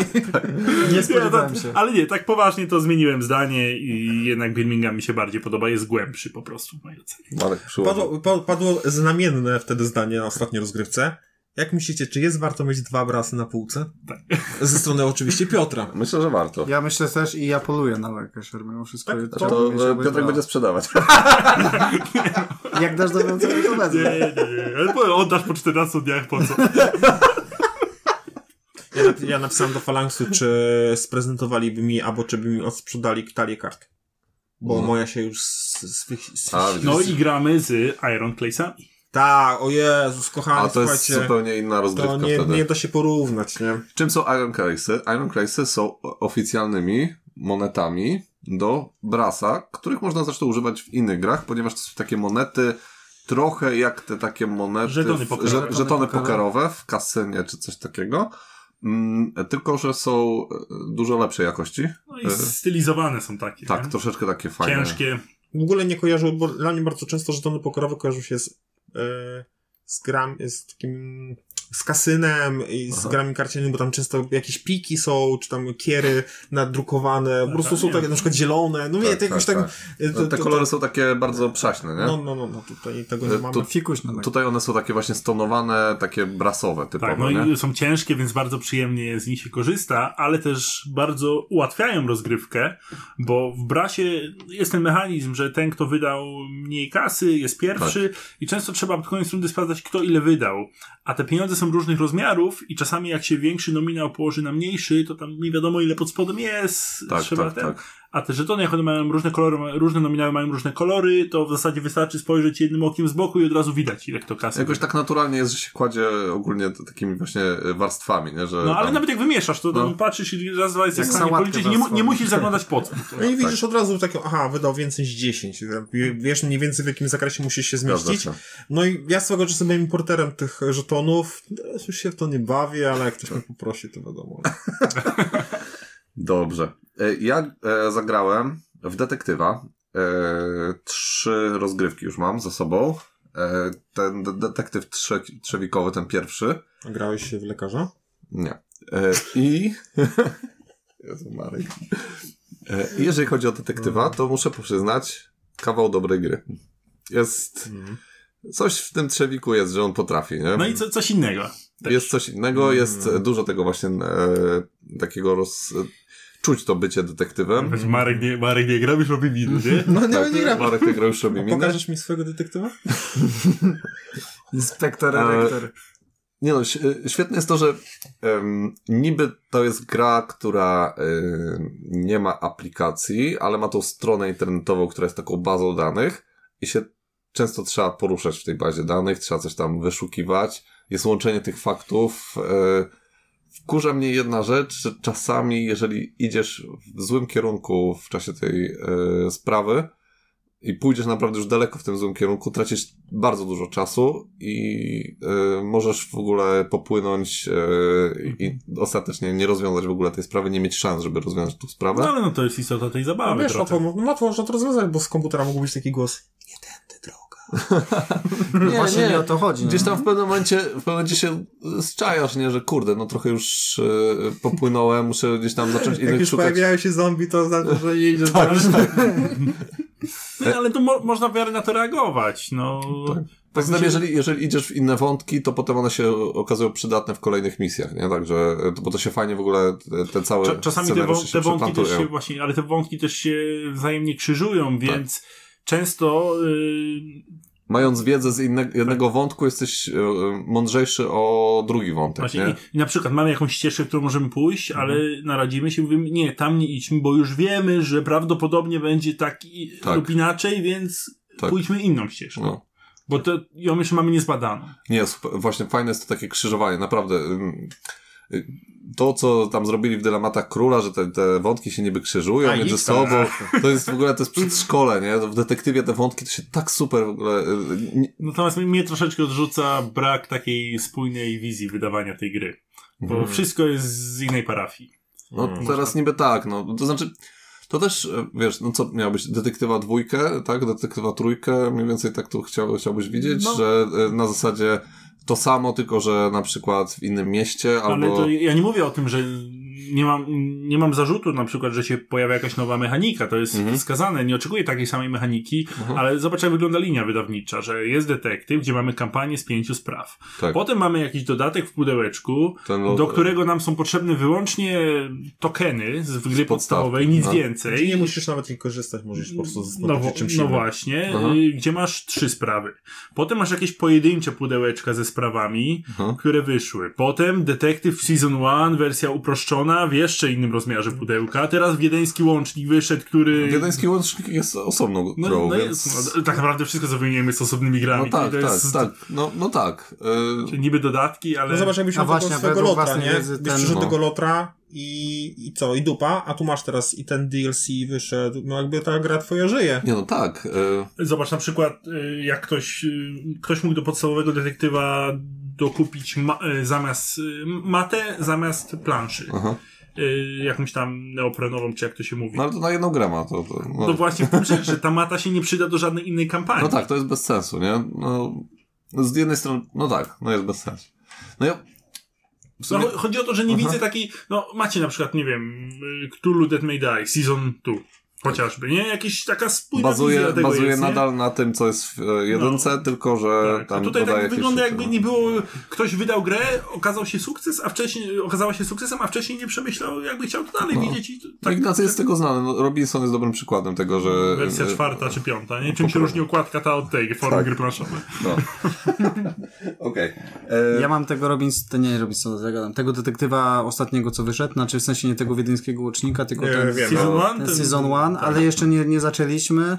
Nie
Ja
spodziewałem
to-
się.
Ale nie, tak poważnie to zmieniłem zdanie i jednak Birmingham mi się bardziej podoba, jest głębszy po prostu w mojej ocenie.
Marek przyłożył.
Padło, pa- padło znamienne wtedy zdanie na ostatniej rozgrywce. Jak myślicie, czy jest warto mieć dwa brasy na półce? Ze strony oczywiście Piotra.
Myślę, że warto.
Ja myślę też i ja poluję na Lancashire mimo wszystko.
To,
Chciałbym mieć
e,
obydwa.
Piotrek będzie sprzedawać.
Jak dasz do wiązania, to
Nie,
wezmę.
nie, nie. Ale powiem, Oddasz po 14 dniach, po co?
Ja, nap- ja napisałem do Falangsu, czy sprezentowaliby mi, albo czy by mi odsprzedali talię kart. Bo
Mhm.
moja się już s- s- swych- s-
A, widzisz.
No i gramy z Iron Claysami.
Tak, o Jezus,
A
kochany,
to jest
słuchajcie.
zupełnie inna
To
rozgrywka
nie,
wtedy.
nie da się porównać, nie?
Czym są Iron Crazy? Iron Crazy są o- oficjalnymi monetami do brasa, których można zresztą używać w innych grach, ponieważ to są takie monety trochę jak te takie monety...
Żetony
w-
pokerowe.
że-
Żetony
żetony
pokerowe.
pokerowe w kasynie czy coś takiego. Mm, tylko, że są e, dużo lepszej jakości.
No i stylizowane są takie.
Tak,
nie?
troszeczkę takie fajne.
Ciężkie.
W ogóle nie kojarzył, bo dla mnie bardzo często żetony pokerowe kojarzą się z, e, z gram, z takim, z kasynem i z
Aha.
grami karcianymi, bo tam często jakieś piki są, czy tam kiery nadrukowane, po prostu
tak,
są
nie.
takie na przykład zielone, no nie, to jakoś tak... e,
No,
to-
Te
to-
kolory są takie bardzo przaśne, nie?
No, no, no, no, tutaj tego nie
E,
mamy.
to-
Fikuś na Lancashire.
Tutaj one są takie właśnie stonowane, takie brasowe typowo,
Tak, no
nie?
i są ciężkie, więc bardzo przyjemnie z nich się korzysta, ale też bardzo ułatwiają rozgrywkę, bo w brasie jest ten mechanizm, że ten, kto wydał mniej kasy, jest pierwszy
Tak.
i często trzeba pod koniec rundy sprawdzać, kto ile wydał. A te pieniądze są różnych rozmiarów i czasami jak się większy nominał położy na mniejszy, to tam nie wiadomo, ile pod spodem jest.
Tak,
trzeba
tak,
ten.
tak.
A te żetony, jak one mają różne kolory, ma- różne nominały mają różne kolory, to w zasadzie wystarczy spojrzeć jednym okiem z boku i od razu widać, ile kto kasy
Jakoś tak naturalnie jest, że się kładzie ogólnie t- takimi właśnie y, warstwami, nie? Że
No ale
tam-
nawet jak wymieszasz, to
No.
no. patrzysz i raz, dwa jesteś
Jak
w stanie
sałatkę
policzyć, nie, mu- nie
zasłonię.
musisz zaglądać po co.
No i
tak.
widzisz od razu taką, aha, wydał więcej niż 10, wiesz mniej więcej w jakim zakresie musisz się
Zgadza
zmieścić.
się.
No i ja swego czasu byłem importerem tych żetonów, teraz już się w to nie bawię, ale jak ktoś mnie poprosi, to wiadomo.
Dobrze. E, Ja e, zagrałem w detektywa. E, Trzy rozgrywki już mam za sobą. E, Ten de- detektyw trze- trzewikowy, ten pierwszy.
A Grałeś się w lekarza?
Nie. E, I. Jezu, Marek. E, i jeżeli chodzi o detektywa, to muszę przyznać, kawał dobrej gry. Jest.
Mhm.
Coś w tym trzewiku jest, że on potrafi, nie?
No i co, coś innego. też.
Jest coś innego, jest e, dużo tego właśnie e, takiego roz... e, czuć to bycie detektywem.
Choć Znaczy, Marek nie, Marek nie gra, już robi miny, nie?
No nie,
Tak,
nie gram.
Marek tego już robi
A
minę.
pokażesz mi swojego detektywa?
Inspektor,
E,
rektor.
Nie no, ś- y, świetne jest to, że em, niby to jest gra, która y, nie ma aplikacji, ale ma tą stronę internetową, która jest taką bazą danych i się często trzeba poruszać w tej bazie danych, trzeba coś tam wyszukiwać. Jest łączenie tych faktów. y, Wkurza mnie jedna rzecz, że czasami, jeżeli idziesz w złym kierunku w czasie tej y, sprawy, i pójdziesz naprawdę już daleko w tym złym kierunku, tracisz bardzo dużo czasu i y, możesz w ogóle popłynąć y, i ostatecznie nie rozwiązać w ogóle tej sprawy, nie mieć szans, żeby rozwiązać tą sprawę.
No ale no to jest istota tej zabawy
Wiesz,
trochę.
łatwo, łatwo można to rozwiązać, bo z komputera mógł być taki głos. Nie tędy droga.
No właśnie nie,
nie.
o to chodzi.
Gdzieś
no.
tam w pewnym momencie, w pewnym momencie się zczajasz, nie, że kurde, no trochę już y, popłynąłem, muszę gdzieś tam zacząć
Jak
innych
już
szukać.
pojawiają się zombie, to znaczy, że nie idziesz
Tak,
dalej.
No, ale to mo- można w miarę na to reagować, no.
Poza
mi
tym,
się-
jeżeli, jeżeli idziesz w inne wątki, to potem one się okazują przydatne w kolejnych misjach, nie? Także, y, bo to się fajnie w ogóle e, te, te całe
Cza- czasami te,
scenariusze
wą-
się
te wątki też
przeplantują.
się właśnie, ale te wątki też się wzajemnie krzyżują, więc
Tak.
często y,
mając wiedzę z inne, jednego wątku, jesteś e, mądrzejszy o drugi wątek,
właśnie
Tak, nie? Mhm.
i, i na przykład mamy jakąś ścieżkę, którą możemy pójść, ale naradzimy się i mówimy, nie, tam nie idźmy, bo już wiemy, że prawdopodobnie będzie tak, i,
Tak.
lub inaczej, więc
Tak.
pójdźmy inną ścieżką.
No.
Bo to, ją jeszcze mamy niezbadaną.
Nie, super. właśnie fajne jest to takie krzyżowanie, naprawdę. ym, y, To, co tam zrobili w Dylematach Króla, że te, te wątki się niby krzyżują
A,
między
ich to-
sobą, to jest w ogóle, to jest przedszkole, nie? W detektywie te wątki to się tak super w ogóle... y, nie-
Natomiast mnie troszeczkę odrzuca brak takiej spójnej wizji wydawania tej gry. Bo
Mhm.
wszystko Mhm. jest z innej parafii.
No
Mm.
teraz niby tak, no to znaczy, to też, e, wiesz, no co miało być, detektywa dwójkę, tak, detektywa trójkę, mniej więcej tak tu chciał, chciałbyś widzieć,
No.
że e, na zasadzie to samo, tylko że na przykład w innym mieście albo...
Ale to ja nie mówię o tym, że nie mam, nie mam zarzutu na przykład, że się pojawia jakaś nowa mechanika. To jest
Mhm.
wskazane. Nie oczekuję takiej samej mechaniki,
Mhm.
ale zobacz jak wygląda linia wydawnicza, że jest detektyw, gdzie mamy kampanię z pięciu spraw.
Tak.
Potem mamy jakiś dodatek w pudełeczku,
Ten lo-
do którego nam są potrzebne wyłącznie tokeny z w gry
podstawki,
podstawowej, nic
no.
więcej.
Znaczy, nie musisz nawet ich korzystać, możesz po prostu
No,
zaspokojać
wo-
się czymś
no
innym.
właśnie,
Aha.
y, gdzie masz trzy sprawy. Potem masz jakieś pojedyncze pudełeczka ze sprawami,
Aha.
które wyszły. Potem Detektyw Season 1, wersja uproszczona w jeszcze innym rozmiarze pudełka. Teraz Wiedeński Łącznik wyszedł, który...
Wiedeński łącznik jest osobną
No,
grą,
no
więc...
jest, no, tak naprawdę wszystko, co wymieniamy jest osobnymi grami.
no tak,
to
tak,
jest
tak, no, no tak. Y,
Niby dodatki, ale...
No zobacz, jakbyś
A
miał
właśnie,
tego swego
według
lotra,
własnej
nie?
wiedzy
Byś
ten-
przyszedł
no.
tego lotra i, i co, i dupa, a tu masz teraz i ten DLC wyszedł, no jakby ta gra twoja żyje.
nie no tak, y,
Zobacz na przykład, y, jak ktoś, y, ktoś mógł do podstawowego detektywa dokupić ma, y, zamiast y, matę, zamiast planszy.
aha.
Y, jakąś tam neoprenową, czy jak to się mówi.
no ale to na jedną grę ma to... to no.
No właśnie w tym rzecz, że ta mata się nie przyda do żadnej innej kampanii.
No tak, to jest bez sensu, nie? No, z jednej strony, no tak, no jest bez sensu. No ja... W
No,
sumie...
cho- chodzi o to, że nie
Aha.
widzę takiej, no macie na przykład, nie wiem, y, Cthulhu Dead May Die, Season 2, chociażby, nie? Jakiś taka spójna
bazuje,
wizja tego
bazuje
jest, nie?
nadal na tym, co jest w e, jedynce, tylko że
Tak. A
tam
tutaj
dodaje
tak
jakieś
wygląda
rzeczy,
jakby
no.
nie było, ktoś wydał grę, okazał się sukces, a wcześniej, okazała się sukcesem, a wcześniej nie przemyślał, jakby chciał to dalej
No.
widzieć i to-
No,
tak.
Ignacy jest z tego znany. No, Robinson jest dobrym przykładem tego, że... e,
Wersja
że-
czwarta czy piąta, nie? Czym się
Poprawnie.
różni okładka ta od tej formy
no, Tak.
gry planszowej?
No. Okej. E,
Ja mam tego Robinson, nie Robinsona, zagadam, tego detektywa ostatniego, co wyszedł, znaczy w sensie nie tego wiedeńskiego łucznika, tylko
Nie,
ten,
wiem,
Season
no,
one,
ten
ten-
Season One, ale jeszcze nie, nie zaczęliśmy,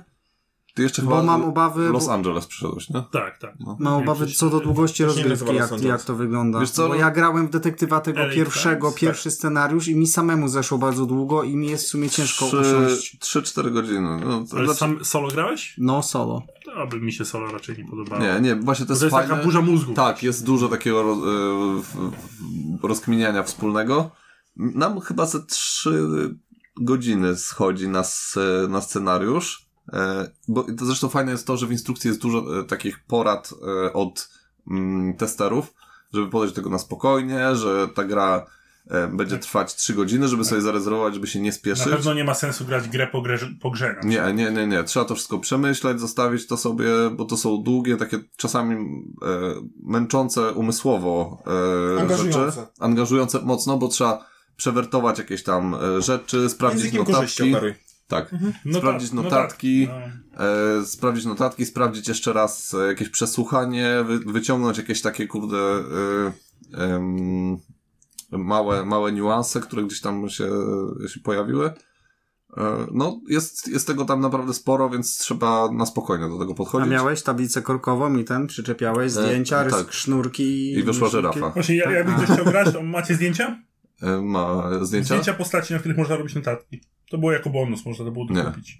Ty jeszcze
bo
chyba
mam obawy-
Los Angeles przyszedłeś, nie?
Tak, tak.
No,
mam obawy
przecież-
co do długości
przecież nie
rozgrywki,
nazywa Los
jak,
Angeles.
jak to wygląda.
Wiesz co,
Bo
no-
ja grałem w detektywa tego
LA
pierwszego,
Times,
pierwszy scenariusz i mi samemu zeszło bardzo długo i mi jest w sumie ciężko usiąść.
3-4 godziny. No, to
Ale
znaczy-
sam solo grałeś?
No solo.
Aby mi się solo raczej nie podobało.
Nie, nie, właśnie to jest
To jest
fajne.
taka burza mózgu.
Tak, jest dużo takiego roz, e, w- w- rozkminiania wspólnego. Nam chyba ze trzy godziny schodzi na, s- na scenariusz. E, Bo to zresztą fajne jest to, że w instrukcji jest dużo e, takich porad e, od mm, testerów, żeby podejść do tego na spokojnie, że ta gra E, Będzie trwać 3 godziny, żeby sobie zarezerwować, żeby się nie
Tak. Na
spieszyć.
pewno nie ma sensu grać w grę po grze, po grze. no.
Nie, nie, nie, nie. Trzeba to wszystko przemyśleć, zostawić to sobie, bo to są długie, takie czasami e, męczące umysłowo e,
Angażujące.
rzeczy. Angażujące mocno, bo trzeba przewertować jakieś tam e, rzeczy, sprawdzić
Językiem korzyści
notatki.
operuj.
Tak.
Notat-
Sprawdzić notatki.
notat- no.
E, sprawdzić notatki, sprawdzić jeszcze raz e, jakieś przesłuchanie, wy, wyciągnąć jakieś takie kurde e, em, małe, małe niuanse, które gdzieś tam się, się pojawiły. E, no, jest, jest tego tam naprawdę sporo, więc trzeba na spokojnie do tego
A
podchodzić.
miałeś tablicę korkową i ten, przyczepiałeś zdjęcia, rys,
tak.
sznurki.
I wyszła
sznurki.
żyrafa.
Właśnie, ja, jakby
Tak.
ktoś chciał grać, to macie zdjęcia?
E, ma zdjęcia?
Zdjęcia postaci, na których można robić notatki. To było jako bonus, można to było
Nie.
dokupić.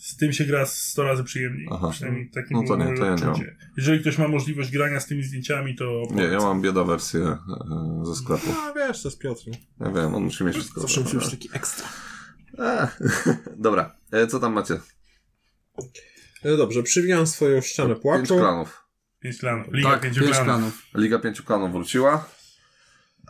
Z tym się gra 100 razy przyjemniej.
Aha.
Przynajmniej tak
No to nie, to ja nie
Jeżeli ktoś ma możliwość grania z tymi zdjęciami, to.
Nie, ja mam bieda wersję e, ze sklepu.
No wiesz, to z Piotrem.
Ja wiem, on musi mieć wszystko.
Zawsze musi być taki ekstra.
E, Dobra, e, co tam macie?
E, Dobrze, przywijam swoją ścianę
Pięć
płaczu.
klanów.
5 klanów. Liga
Tak,
5
pięć
klanów.
planów.
Liga Pięciu Klanów wróciła.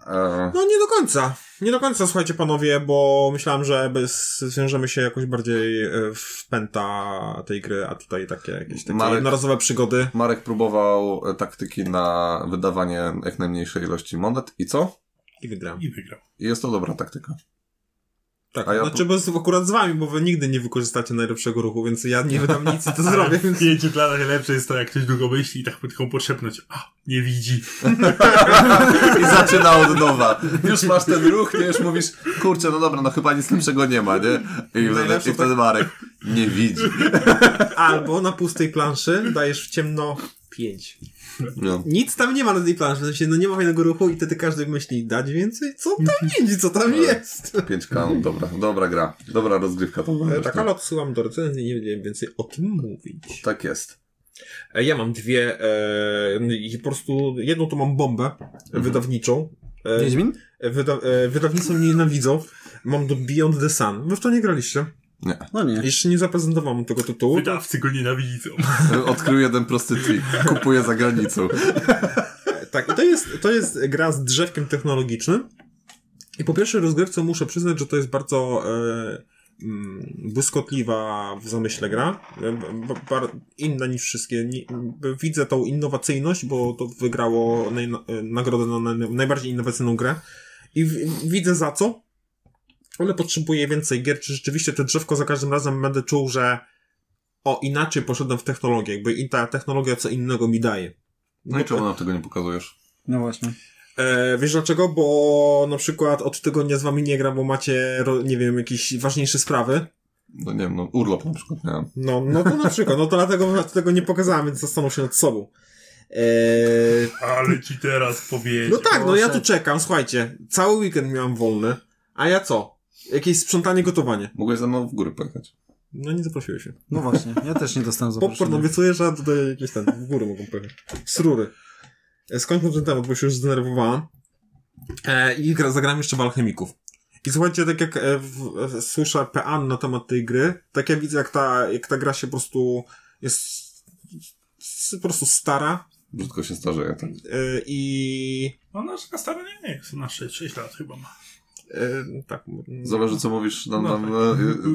E,
No nie do końca. Nie do końca, słuchajcie panowie, bo myślałem, że bez, zwiążemy się jakoś bardziej e, w pęta tej gry, a tutaj takie jakieś takie
Marek-
jednorazowe przygody.
Marek próbował e, taktyki na wydawanie jak najmniejszej ilości monet i co?
I wygrałem.
I wygrał.
I jest to dobra taktyka.
Tak,
A ja
znaczy bez, akurat z wami, bo wy nigdy nie wykorzystacie najlepszego ruchu, więc ja nie wydam nic i to zrobię,
W
więc...
5 klanach najlepsze jest to, jak ktoś długo myśli i tak tylko podszepnąć. A, nie widzi.
I zaczyna od nowa. Już masz ten ruch, nie? Już mówisz, kurczę, no dobra, no chyba nic lepszego nie ma, nie? I wtedy,
Najlepsze
i wtedy Marek nie widzi.
Albo na pustej planszy dajesz w ciemno pięć.
No.
Nic tam nie ma na tej planszy, w sensie, no nie ma fajnego ruchu i wtedy każdy myśli, dać więcej? Co tam widzi, co
Tak.
tam jest?
Pięć kanów, dobra, dobra gra. Dobra rozgrywka to
E,
była.
Tak, ale odsyłam do recenzji, nie będziemy więcej o tym mówić.
Tak jest.
E, Ja mam dwie, e, i po prostu jedną to mam bombę wydawniczą. E,
Wiedźmin?
e, Wyda, e, wydawnictwo mnie nienawidzą. Mam do Beyond the Sun. Wy w to nie graliście.
No nie.
Jeszcze nie zaprezentowałem tego tytułu.
Wydawcy go nienawidzą.
Odkrył jeden prosty trik. Kupuje za granicą.
Tak, i to jest, to jest gra z drzewkiem technologicznym. I po pierwsze rozgrywce muszę przyznać, że to jest bardzo e, mm, błyskotliwa w zamyśle gra. E, b- bar, inna niż wszystkie. Ni- b- Widzę tą innowacyjność, bo to wygrało naj, e, nagrodę na naj, najbardziej innowacyjną grę. I w, widzę za co, ale potrzebuję więcej gier. Czy rzeczywiście to drzewko za każdym razem będę czuł, że o, inaczej poszedłem w technologię, jakby i ta technologia co innego mi daje.
No i
Bo-
czemu nam tego nie pokazujesz?
No właśnie.
E, wiesz dlaczego? Bo na przykład od tygodnia z wami nie gram, bo macie, ro- nie wiem, jakieś ważniejsze sprawy.
No nie wiem, no urlop na przykład miałem.
No, no to na przykład, no to dlatego tego nie pokazałem, więc zastanów się nad sobą. E,
Ale ci teraz powiedział.
no tak, no ja tu
Proszę.
czekam, słuchajcie, cały weekend miałam wolny, a ja co? Jakieś sprzątanie, gotowanie.
Mogłeś ze mną w góry pojechać.
No nie zaprosiłeś się.
No właśnie, ja też nie dostałem
Popcorn
zaproszenia.
obiecuję, że dodaję jakieś ten, w górę mogą pojechać. Srury. E, Skończmy ten temat, bo się już zdenerwowałem. E, I gra, zagram jeszcze w Alchemików. I słuchajcie, tak jak e, w, e, słyszę PAN na temat tej gry, tak ja widzę, jak ta, jak ta gra się po prostu jest s- po prostu stara
Brzydko się starzeje, tak?
e, i
No nasza stara nie jest. Na 6, 6 lat chyba ma.
e, tak.
Zależy co mówisz nam,
No
nam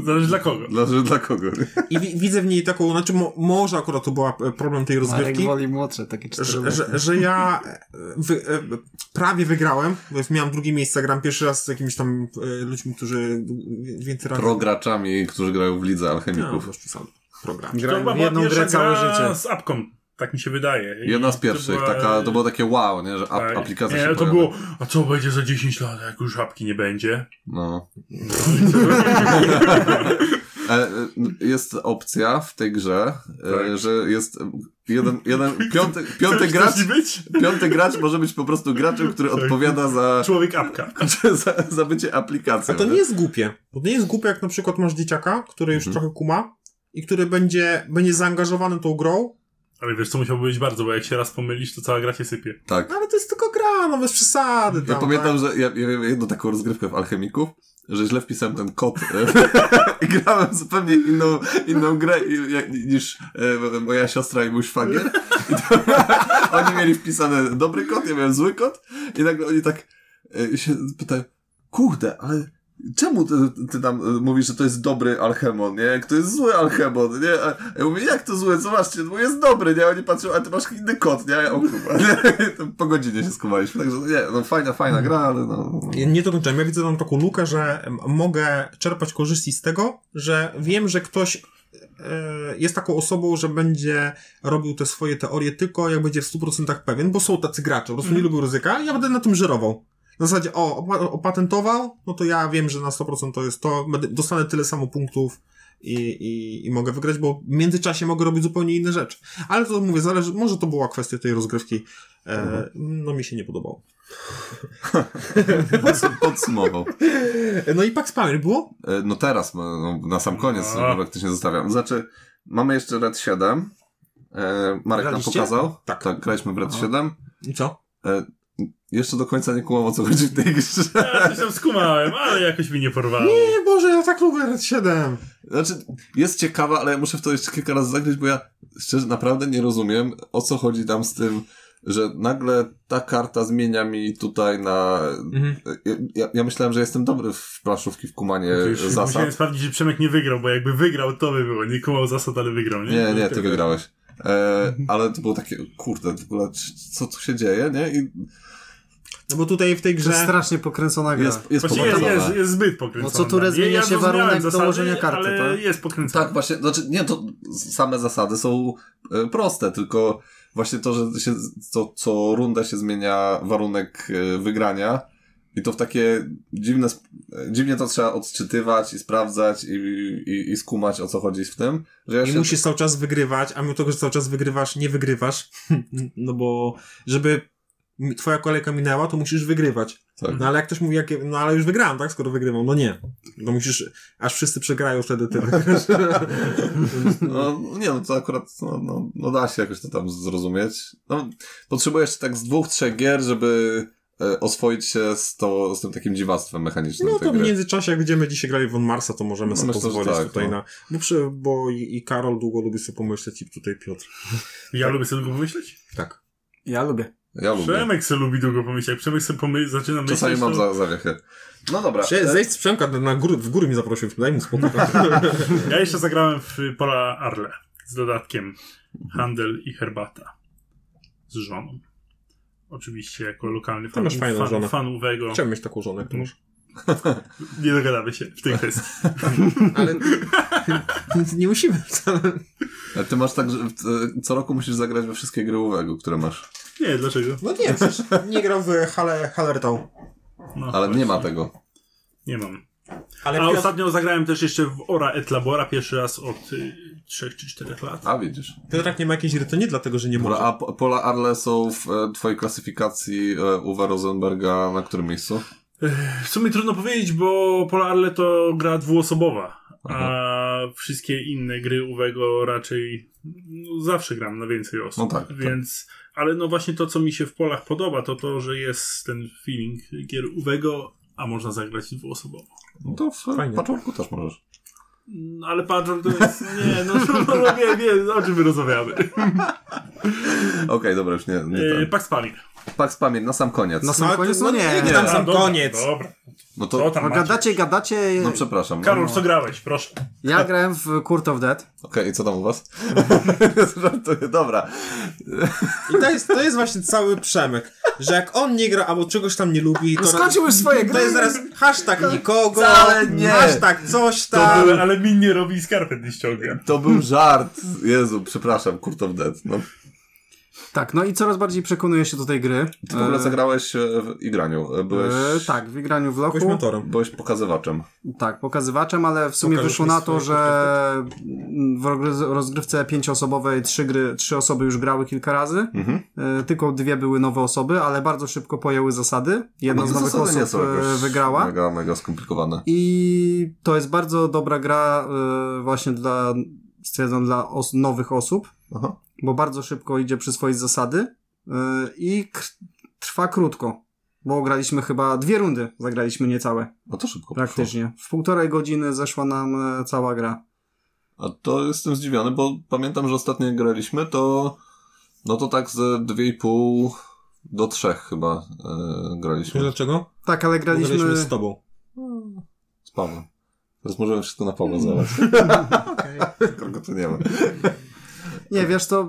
e,
Zależy dla kogo. Tak.
Zależy dla kogo.
I wi, widzę w niej taką, znaczy mo, może akurat to była e, problem tej
Marek
rozgrywki.
woli młodsze, takie cztery
że, że, że ja e, wy, e, prawie wygrałem, bo miałem drugie miejsce, gram pierwszy raz z jakimiś tam e, ludźmi, którzy wie- więcej razy...
Prograczami, którzy grają w lidze
no,
alchemików.
bez przesady. Program.
To
Grałem
chyba
w
była
jedną
pierwsza
grę całe
gra
życie.
z apką. Tak mi się wydaje. I
Jedna z
to
pierwszych,
była-
taka, to było takie wow, nie, że ap-
Tak.
aplikacja
nie,
się
to
pojawia.
było, a co będzie za 10 lat, jak już apki nie będzie?
No. E, e, Jest opcja w tej grze, e,
Tak.
że jest jeden, jeden piąty, piąty,
Chcesz
gracz,
coś być?
piąty gracz może być po prostu graczem, który
Tak.
odpowiada za,
Człowiek apka.
za, za bycie aplikacją.
A to nie
nie?
jest głupie. Bo to nie jest głupie, jak na przykład masz dzieciaka, który już
Mhm.
trochę kuma i który będzie, będzie zaangażowany tą grą,
Ale wiesz, co musiał być bardzo, bo jak się raz pomylisz, to cała gra się sypie.
Tak.
no ale to jest tylko gra, no bez przesady. Tam,
Ja pamiętam,
tak.
że ja, ja miałem jedną taką rozgrywkę w Alchemików, że źle wpisałem ten kod e, i grałem w zupełnie inną, inną grę i, jak, niż e, moja siostra i mój szwagier. I to, oni mieli wpisany dobry kod, ja miałem zły kod i nagle oni tak e, i się pytałem, kurde, ale czemu ty, ty tam e, mówisz, że to jest dobry Alchemon, nie? Jak to jest zły Alchemon, nie? A ja mówię, jak to złe? Zobaczcie, no bo jest dobry, nie? A Oni patrzą, a ty masz inny kot, nie? A Ja, o kurwa, nie? To Po godzinie się skumaliśmy, także nie, no fajna, fajna gra, ale no...
Ja nie dokończyłem. Ja widzę tam taką lukę, że m- mogę czerpać korzyści z tego, że wiem, że ktoś e, jest taką osobą, że będzie robił te swoje teorie tylko jak będzie w 100% pewien, bo są tacy gracze, po prostu nie lubią ryzyka ja będę na tym żerował. Na zasadzie, o, opa- opatentował, no to ja wiem, że na 100% to jest to, będę, dostanę tyle samo punktów i, i, i mogę wygrać, bo w międzyczasie mogę robić zupełnie inne rzeczy. Ale to mówię, zależy, może to była kwestia tej rozgrywki, e, no mi się nie podobało.
no, Podsum- Podsumował.
No i Pax Pamir było
E, No teraz, no, na sam koniec
A.
praktycznie zostawiam. Znaczy, mamy jeszcze Red 7. E, Marek nam
Graliście?
pokazał.
Tak.
tak graliśmy w Red
Aha.
7.
I co?
Jeszcze do końca nie kumam o co chodzi w tej grze.
Ja coś tam skumałem, ale jakoś mi nie porwało.
Nie, Boże, ja tak lubię Red 7.
Znaczy, jest ciekawa, ale ja muszę w to jeszcze kilka razy zagrać, bo ja szczerze naprawdę nie rozumiem, o co chodzi tam z tym, że nagle ta karta zmienia mi tutaj na...
Mhm.
Ja- Ja, ja myślałem, że jestem dobry w planszówki, w kumanie
No To już
E, zasad.
Musiałem sprawdzić, że Przemek nie wygrał, bo jakby wygrał, to by było. Nie kumał zasad, ale wygrał, nie? Mhm.
Nie, nie, ty wygrałeś. E, ale to było takie, kurde, w ogóle, c- co tu się dzieje, nie? I
No bo tutaj w tej
To jest
grze...
strasznie pokręcona gra.
jest, jest
Właściwie jest,
pokręcone.
Znaczy, jest, jest zbyt pokręcony.
No co turę zmienia się warunek dołożenia karty,
ale
tak?
jest pokręcony.
Tak, właśnie, znaczy, nie, to same zasady są e, proste, tylko właśnie to, że się, to, co runda się zmienia warunek e, wygrania i to w takie dziwne, sp- e, dziwnie to trzeba odczytywać i sprawdzać i, i, i skumać, o co chodzi w tym, że ja
I
się...
musisz cały czas wygrywać, a mimo tego, że cały czas wygrywasz, nie wygrywasz. No bo żeby mi- twoja kolejka minęła, to musisz wygrywać.
Tak.
No ale jak ktoś mówi, jak, no ale już wygrałem, tak? Skoro wygrywam, no nie. No musisz, aż wszyscy przegrają wtedy ty. wygrasz.
No, nie, no to akurat no, no, no da się jakoś to tam zrozumieć. No, potrzebujesz tak z dwóch, trzech gier, żeby e, oswoić się z, to, z tym takim dziwactwem mechanicznym
No
tej
to w
gry.
międzyczasie, jak będziemy dzisiaj grali w On Marsa, to możemy
No
sobie
myślę, że
pozwolić
tak,
tutaj
no.
na... Bo, przy, bo i, i Karol długo lubi sobie pomyśleć i tutaj Piotr.
Ja lubię sobie długo myśleć.
Tak.
Ja lubię.
Ja lubię.
Przemek se lubi długo pomyśleć. Jak Przemek se pomy- zaczyna myśleć,
Czasami mam
to-
za, zawiechy. No dobra.
Prze- Zejdź z Przemka, na góry, w góry mi zaprosił, daj mu spokój.
Ja jeszcze zagrałem w Pola Arle z dodatkiem handel i herbata z żoną. Oczywiście jako lokalny
Ty
fan,
masz fajną żonę.
fan, fanówego.
Chciałem mieć taką żonę, jak to może.
Nie dogadamy się w tej kwestii.
Ale nie musimy wcale.
E, Ty masz tak, że w- e, co roku musisz zagrać we wszystkie gry Uwego, które masz.
Nie, dlaczego?
No nie, przecież nie grał w Hale, Halertał.
No,
Ale nie
właśnie.
ma tego.
Nie mam.
Ale
A
Piotr-
ostatnio zagrałem też jeszcze w Ora et Labora, pierwszy raz od y, 3 czy 4 lat.
A widzisz.
Piotrek nie ma jakiejś gry, to nie dlatego, że nie
Dobra,
może.
a po- Pola Arle są w e, twojej klasyfikacji e, Uwe Rosenberga na którym miejscu?
W sumie trudno powiedzieć, bo Pola Arle to gra dwuosobowa, a
Mhm.
wszystkie inne gry Uwego raczej no, zawsze gram na więcej osób.
No tak, tak.
Więc, ale no właśnie to, co mi się w Polach podoba, to to, że jest ten feeling gier Uwego, a można zagrać dwuosobowo.
No to w
Fajnie.
paczorku też możesz.
No, ale Pajor to jest... Nie, no, no, no nie, nie, o czym my rozmawiamy.
No Okej, dobra, już nie, nie
E,
ten.
Pax Pamir.
Pax Pamięć, na sam koniec.
Na sam
ale to-
koniec? No
no
nie.
nie,
nie.
tam sam
dobra,
koniec.
Dobra,
No to,
co tam
No
macie?
gadacie, gadacie.
no przepraszam. No.
Karol, co grałeś? Proszę.
Ja grałem w Court of Dead.
Okej, i co tam u was? Żartuję, dobra.
I to jest, to jest właśnie cały Przemek, że jak on nie gra albo czegoś tam nie lubi, to,
No skończył już swoje gry.
to jest zaraz hashtag nikogo,
Wcale nie.
hashtag coś
To
tam.
były, ale min nie robi i skarpet nie ściąga.
To był żart. Jezu, przepraszam, Kurt of Dead. No.
Tak, no i coraz bardziej przekonuję się do tej gry.
Ty w ogóle
E,
zagrałeś e, w igraniu. e, Byłeś,
e, tak, w graniu w
Byłeś
loku.
mentorem.
byłeś pokazywaczem.
Tak, pokazywaczem, ale w sumie
Pokażesz
wyszło
mi
na to,
swoje
że w rogry- rozgrywce pięcioosobowej trzy gry, trzy osoby już grały kilka razy.
Mhm.
E, Tylko dwie były nowe osoby, ale bardzo szybko pojęły zasady. Jedna
No,
z nowych
zasady nie
osób
są
e,
jakoś
wygrała.
Mega, mega skomplikowane.
I to jest bardzo dobra gra e, właśnie dla, stwierdzam, dla os- nowych osób,
Aha.
bo bardzo szybko idzie przyswoić zasady e, i k- trwa krótko. Bo graliśmy chyba dwie rundy, zagraliśmy niecałe
No to szybko poszło.
praktycznie. W półtorej godziny zeszła nam e, cała gra.
A to jestem zdziwiony, bo pamiętam, że ostatnio jak graliśmy, to no to tak ze 2,5 Do trzech chyba e,
Wiesz
graliśmy
dlaczego?
Tak, ale graliśmy...
Graliśmy z tobą.
z Pawłem. Teraz możemy wszystko na Pawła zalać. Kogo tu nie ma.
Nie, wiesz to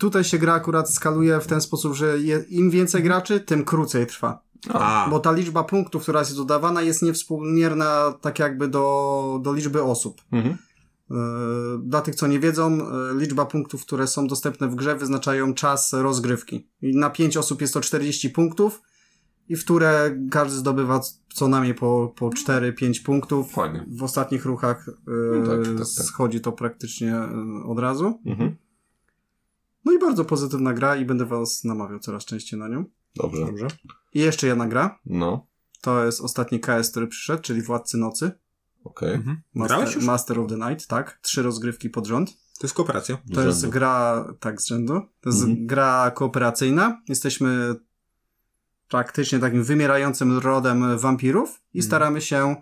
tutaj się gra akurat skaluje w ten sposób, że je, im więcej graczy, tym krócej trwa.
A,
Bo ta liczba punktów, która jest dodawana, jest niewspółmierna tak jakby do, do liczby osób.
Mhm.
Yy, Dla tych, co nie wiedzą, yy, liczba punktów, które są dostępne w grze, wyznaczają czas rozgrywki. I na 5 osób jest to 40 punktów, i w które każdy zdobywa co najmniej po, po 4-5 punktów.
Fajnie.
W ostatnich ruchach yy,
No tak, tak, tak.
schodzi to praktycznie yy, od razu.
Mhm.
No i bardzo pozytywna gra i będę was namawiał coraz częściej na nią.
Dobrze.
dobrze.
I jeszcze jedna gra.
No,
To jest ostatni KS, który przyszedł, czyli Władcy Nocy.
okej.
Mhm. Grałeś
Master,
już?
Master of the Night, tak. Trzy rozgrywki pod rząd.
To jest kooperacja.
Z
To jest
rzędu.
gra, tak z rzędu. To jest
Mhm.
gra kooperacyjna. Jesteśmy praktycznie takim wymierającym rodem wampirów i
Mhm.
staramy się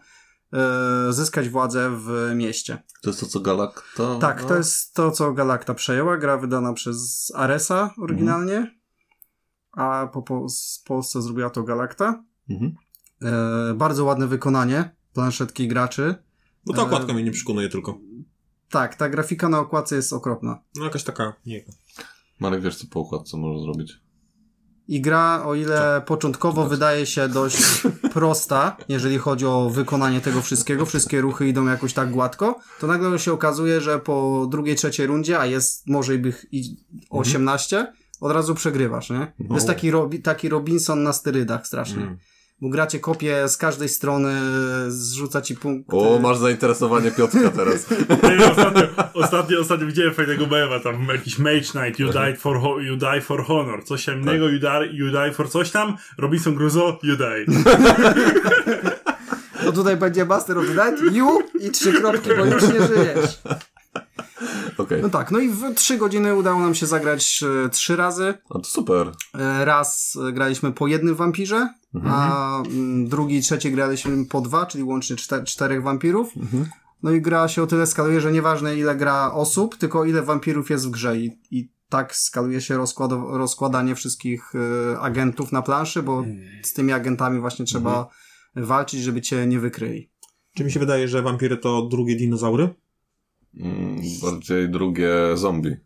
e, zyskać władzę w mieście.
To jest to, co No. Galacta...
Tak, to jest to, co Galacta przejęła. Gra wydana przez Aresa oryginalnie, a po, po z Polsce zrobiła to Galacta.
Mhm.
E, bardzo ładne wykonanie planszetki graczy.
Bo ta
E,
okładka mnie nie przekonuje tylko.
Tak, ta grafika na okładce jest okropna.
No jakaś taka, nie
Marek, wiesz co po układce może zrobić?
I gra, o ile początkowo wydaje się dość prosta, jeżeli chodzi o wykonanie tego wszystkiego, wszystkie ruchy idą jakoś tak gładko, to nagle się okazuje, że po drugiej, trzeciej rundzie, a jest może i bych i 18, od razu przegrywasz, nie? To jest taki, Robi- taki Robinson na sterydach strasznie.
Mm.
Bo gracie kopie z każdej strony, zrzuca ci punkty.
O, masz zainteresowanie Piotrka teraz.
Nie wiem, ostatnio, ostatnio, ostatnio widziałem fajnego mema, tam jakiś Mage Knight, you died for, ho- you die for honor, coś tam innego, you, die, you die for coś tam, Robinson Crusoe, you die.
To No tutaj będzie Master of the Night, you i trzy kropki, bo już nie żyjesz.
Okej.
No tak, no i w trzy godziny udało nam się zagrać e, trzy razy.
A to super.
E, Raz e, graliśmy po jednym wampirze, a mm, drugi i trzeci graliśmy po dwa, czyli łącznie czte- czterech wampirów. No i gra się o tyle skaluje, że nieważne ile gra osób, tylko ile wampirów jest w grze i, i tak skaluje się rozkłado- rozkładanie wszystkich e, agentów na planszy, bo z tymi agentami właśnie trzeba walczyć, żeby cię nie wykryli.
Czy mi się wydaje, że wampiry to drugie dinozaury?
Mm, bardziej drugie zombie.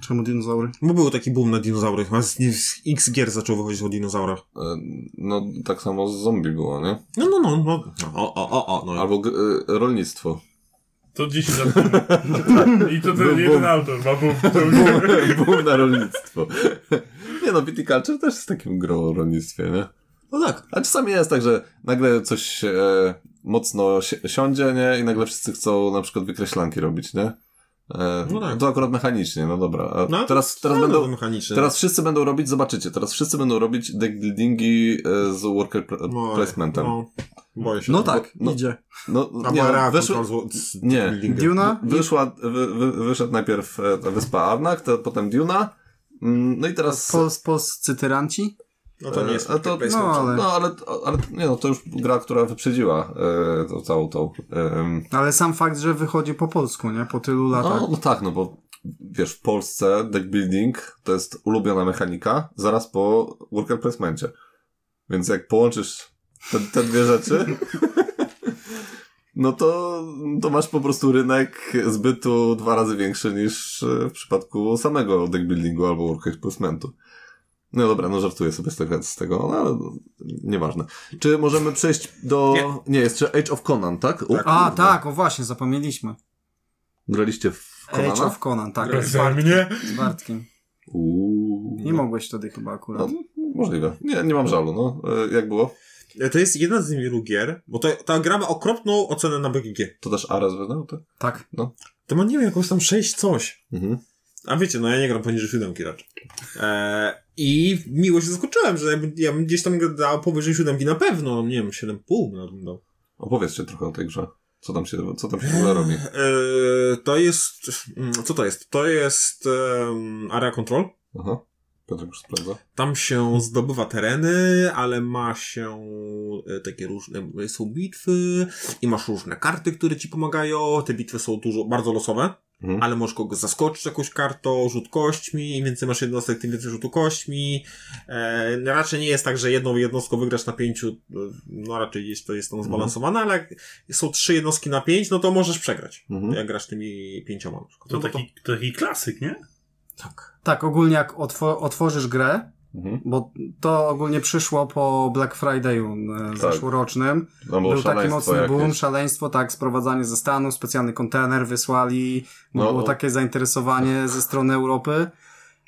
Czemu dinozaury?
Bo był taki boom na dinozaury. Chyba z, nie- z X gier zaczął wychodzić o dinozaurach.
E, No, tak samo z zombie było, nie?
No, no, no. no. O, o, o, o. No.
Albo g- e, rolnictwo.
To 10 lat temu. I to
Bum,
ten
bum.
jeden autor, ma bum, bum.
Boom na rolnictwo. Nie no, Viticulture też jest takim grą o rolnictwie, nie?
No tak.
A czasami jest tak, że nagle coś e, mocno si- siądzie, nie? I nagle wszyscy chcą na przykład wykreślanki robić, nie? E,
No tak.
To akurat mechanicznie, no dobra. A
No,
teraz teraz
no, no,
będą...
mechaniczne.
Teraz wszyscy będą robić, zobaczycie, teraz wszyscy będą robić deck buildingi e, z worker pl-
No,
placementem. No,
No, boję się.
No tak,
no-
idzie.
A
nie,
nie,
no,
Arachus,
weszło,
weszło... z,
nie.
Buildinga.
Duna?
wyszła, wy, wy, wyszedł najpierw e, ta wyspa Arnak, to, potem Duna, mm, no i teraz...
Pol- polscy tyranci?
No to nie jest.
A to-
Place
no,
Map.
ale-
No, ale, ale nie no, to już gra, która wyprzedziła e, tą całą tą. em,
Ale sam fakt, że wychodzi po polsku, nie? Po tylu latach.
no, no tak, no bo wiesz, w Polsce deck building to jest ulubiona mechanika zaraz po worker placemencie. Więc jak połączysz te, te dwie rzeczy, no to, to masz po prostu rynek zbytu dwa razy większy niż e, w przypadku samego deck buildingu albo worker placementu. No dobra, no żartuję sobie z tego, z tego no ale nieważne. Czy możemy przejść do... Nie, jest jeszcze Age of Conan, tak? O,
A,
kurwa.
tak, o właśnie, zapomnieliśmy.
Graliście w Conana?
Age of Conan, tak,
Graj
z,
za
Bart-
mnie.
z Bartkiem.
Uuu.
Nie mogłeś wtedy chyba akurat.
No, możliwe. Nie, nie mam żalu, no. E, Jak było?
To jest jedna z niewielu gier, bo to, ta gra ma okropną ocenę na BGG.
To też Ares wydał, tak?
Tak.
To ma, nie wiem, jakąś tam 6 coś.
Mhm.
A wiecie, no ja nie gram poniżej 7 raczej. Eee, I miło się zaskoczyłem, że ja bym, ja bym gdzieś tam dał powyżej 7 na pewno, no nie wiem, 7,5 na bym dał.
Opowiedzcie trochę o tej grze. Co tam się, co tam się w ogóle robi?
Eee, to jest... mm, Co to jest? To jest em, Area Control.
Aha. Piotr już sprawdza.
Tam się zdobywa tereny, ale ma się e, takie różne, są bitwy i masz różne karty, które ci pomagają. Te bitwy są dużo, bardzo losowe.
Mhm.
Ale możesz kogoś zaskoczyć jakąś kartą, rzut kośćmi, im więcej masz jednostek, tym więcej rzutu kośćmi. E, no raczej nie jest tak, że jedną jednostką wygrasz na pięciu, e, no raczej jest to jest tam zbalansowane, ale jak są trzy jednostki na pięć, no to możesz przegrać,
Mhm.
jak grasz tymi pięcioma. na przykład.
To
No
taki, to taki klasyk, nie?
tak.
Tak, ogólnie jak otwo- otworzysz grę,
Mhm.
bo to ogólnie przyszło po Black Friday'u e, zeszłorocznym.
No bo
Był taki
szaleństwo
mocny
jakieś.
boom, szaleństwo, tak, sprowadzanie ze Stanów, specjalny kontener wysłali,
No,
było
o-
takie zainteresowanie ze strony Europy.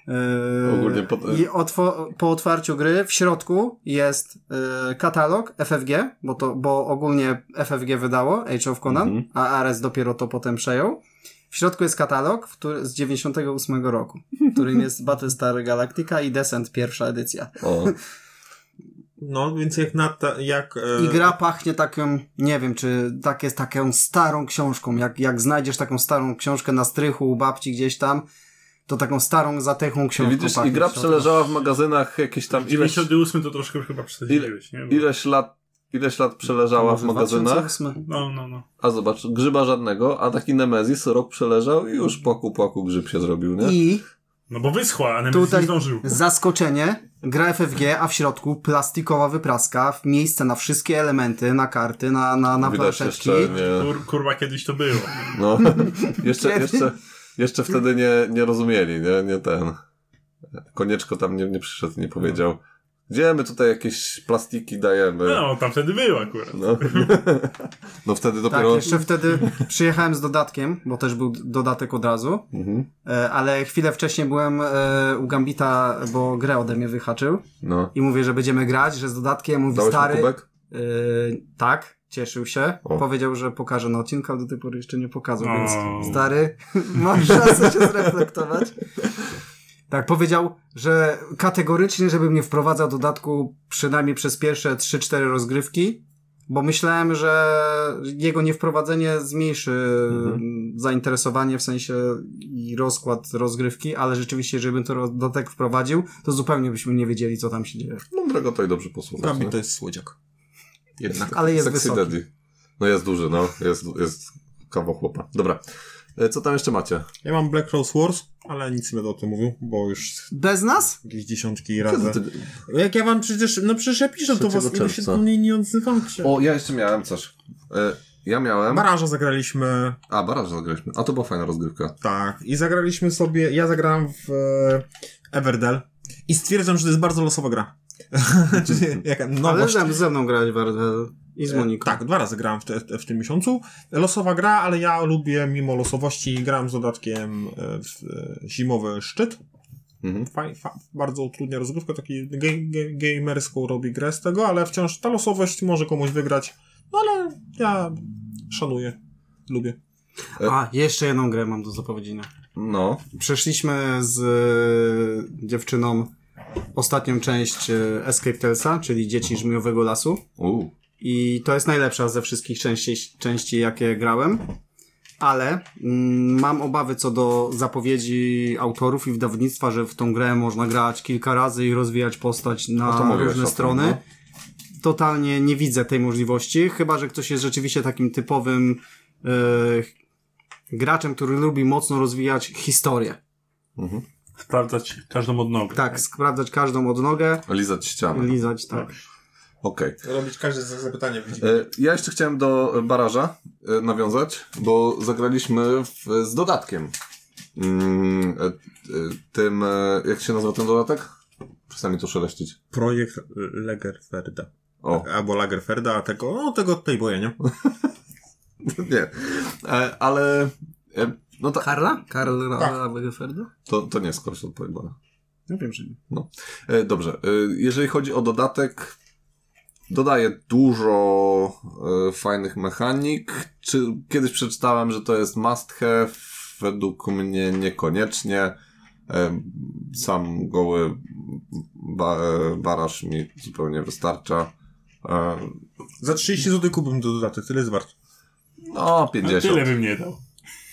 Yy,
Ogólnie pod-
I otwo- po otwarciu gry w środku jest yy, katalog FFG, bo, to, bo ogólnie FFG wydało Age of Conan,
Mhm.
a Ares dopiero to potem przejął. W środku jest katalog w który, z 98 roku, w którym jest Battlestar Galactica i Descent pierwsza edycja.
O,
No, więc jak na ta, jak... e,
I gra pachnie taką, nie wiem, czy tak jest taką starą książką. Jak, jak znajdziesz taką starą książkę na strychu u babci gdzieś tam, to taką starą, zatechą
I
książką.
widzisz, i
pachnie
gra
w środku.
przeleżała w magazynach jakieś tam ileś,
98 to troszkę chyba przesadziłeś, nie? Bo-
ileś lat ileś lat przeleżała w
Może
magazynach,
2008?
No, no, no.
a zobacz, grzyba żadnego, a taki Nemezis rok przeleżał i już płaku płaku grzyb się zrobił, nie?
I
No bo wyschła, a Nemesis
Tutaj-
nie zdążył.
zaskoczenie, gra FFG, a w środku plastikowa wypraska, w- miejsce na wszystkie elementy, na karty, na, na, na
Widać
planszeczki.
jeszcze, nie,
Kur, kurwa, kiedyś to było.
no, jeszcze,
Kiedy?
jeszcze, jeszcze wtedy nie, nie rozumieli, nie, nie ten. Konieczko tam nie, nie przyszedł, nie powiedział, gdzie my tutaj jakieś plastiki dajemy.
No, tam wtedy było akurat.
No, no wtedy
Tak,
dopiero...
jeszcze wtedy przyjechałem z dodatkiem, bo też był dodatek od razu.
Mhm.
E, ale chwilę wcześniej byłem e, u Gambita, bo grę ode mnie wyhaczył
No.
i mówię, że będziemy grać, że z dodatkiem, mówi
Dałeś mu
stary,
kubek?
e, tak, cieszył się,
O.
powiedział, że pokaże na odcinku, ale do tej pory jeszcze nie pokazał,
O.
więc stary, masz szansę się zreflektować. Tak, powiedział, że kategorycznie, żebym nie wprowadzał dodatku przynajmniej przez pierwsze 3-4 rozgrywki, bo myślałem, że jego niewprowadzenie zmniejszy
Mhm.
mm, zainteresowanie w sensie i rozkład rozgrywki, ale rzeczywiście, żebym to ro- dodatek wprowadził, to zupełnie byśmy nie wiedzieli, co tam się dzieje.
Mądrego to i dobrze posłuchać.
Gambit
nie?
to jest słodziak.
Jednak.
Ale jest
Sexy
wysoki.
Daddy. No jest duży, no. Jest, jest kawał chłopa. Dobra. E, Co tam jeszcze macie?
Ja mam Black Rose Wars, ale nic nie będę o tym mówił, bo już
Bez nas?
jakieś dziesiątki
Kiedy
razy.
ty...
Jak ja wam przecież, no przecież ja piszę do was,
3
i wy się
czerwca.
do mnie nie odzywacie.
O, ja jeszcze miałem coś. E, Ja miałem...
Baraża zagraliśmy,
A, baraż zagraliśmy. A to była fajna rozgrywka.
tak, i zagraliśmy sobie, ja zagrałem w e, Everdell i stwierdzam, że to jest bardzo losowa gra. Czyli jaka
ale
nowość.
ze- ze mną grać Wardel i z Moniką.
No Tak, dwa razy grałem w, te, w tym miesiącu. Losowa gra, ale ja lubię mimo losowości, grałem z dodatkiem e, w, e, Zimowy Szczyt.
Mhm.
faj, fa, bardzo utrudnia rozgrywkę, taki ge, ge, gamerską robi grę z tego, ale wciąż ta losowość może komuś wygrać, no ale ja szanuję, lubię.
E, A, jeszcze jedną grę mam do zapowiedzenia.
No.
Przeszliśmy z e, dziewczyną ostatnią część e, Escape Tellsa, czyli Dzieci Żmijowego Lasu.
U.
I to jest najlepsza ze wszystkich części, części jakie grałem. Ale mm, mam obawy co do zapowiedzi autorów i wydawnictwa, że w tą grę można grać kilka razy i rozwijać postać
No to
na
mówiłeś o
różne
tym,
strony.
no.
Totalnie nie widzę tej możliwości, chyba że ktoś jest rzeczywiście takim typowym e, graczem, który lubi mocno rozwijać historię.
Sprawdzać każdą odnogę.
Tak, sprawdzać każdą odnogę,
Lizać ścianę.
lizać, tak.
Okej.
Robić każde zapytanie widzi.
E, Ja jeszcze chciałem do baraża e, nawiązać, bo zagraliśmy w, z dodatkiem. Mm, e, e, Tym, e, jak się nazywa ten dodatek? Przestań mi to szeleścić.
Projekt Lagerferda.
O,
Albo Lagerferda, a tego, no tego od Playboya, nie?
nie. E, Ale, e, no tak,
Karla? Karla
Tak.
Lagerfelda?
to, to nie jest koleś od Playboya.
Ja wiem, że nie.
E, Dobrze, e, jeżeli chodzi o dodatek, dodaje dużo e, fajnych mechanik. Czy kiedyś przeczytałem, że to jest must have? Według mnie niekoniecznie. E, Sam goły ba- e, baraż mi zupełnie wystarcza. E,
Za 30 zł kupiłbym do dodatek, tyle jest wart.
No,
Ale tyle
50.
bym nie dał.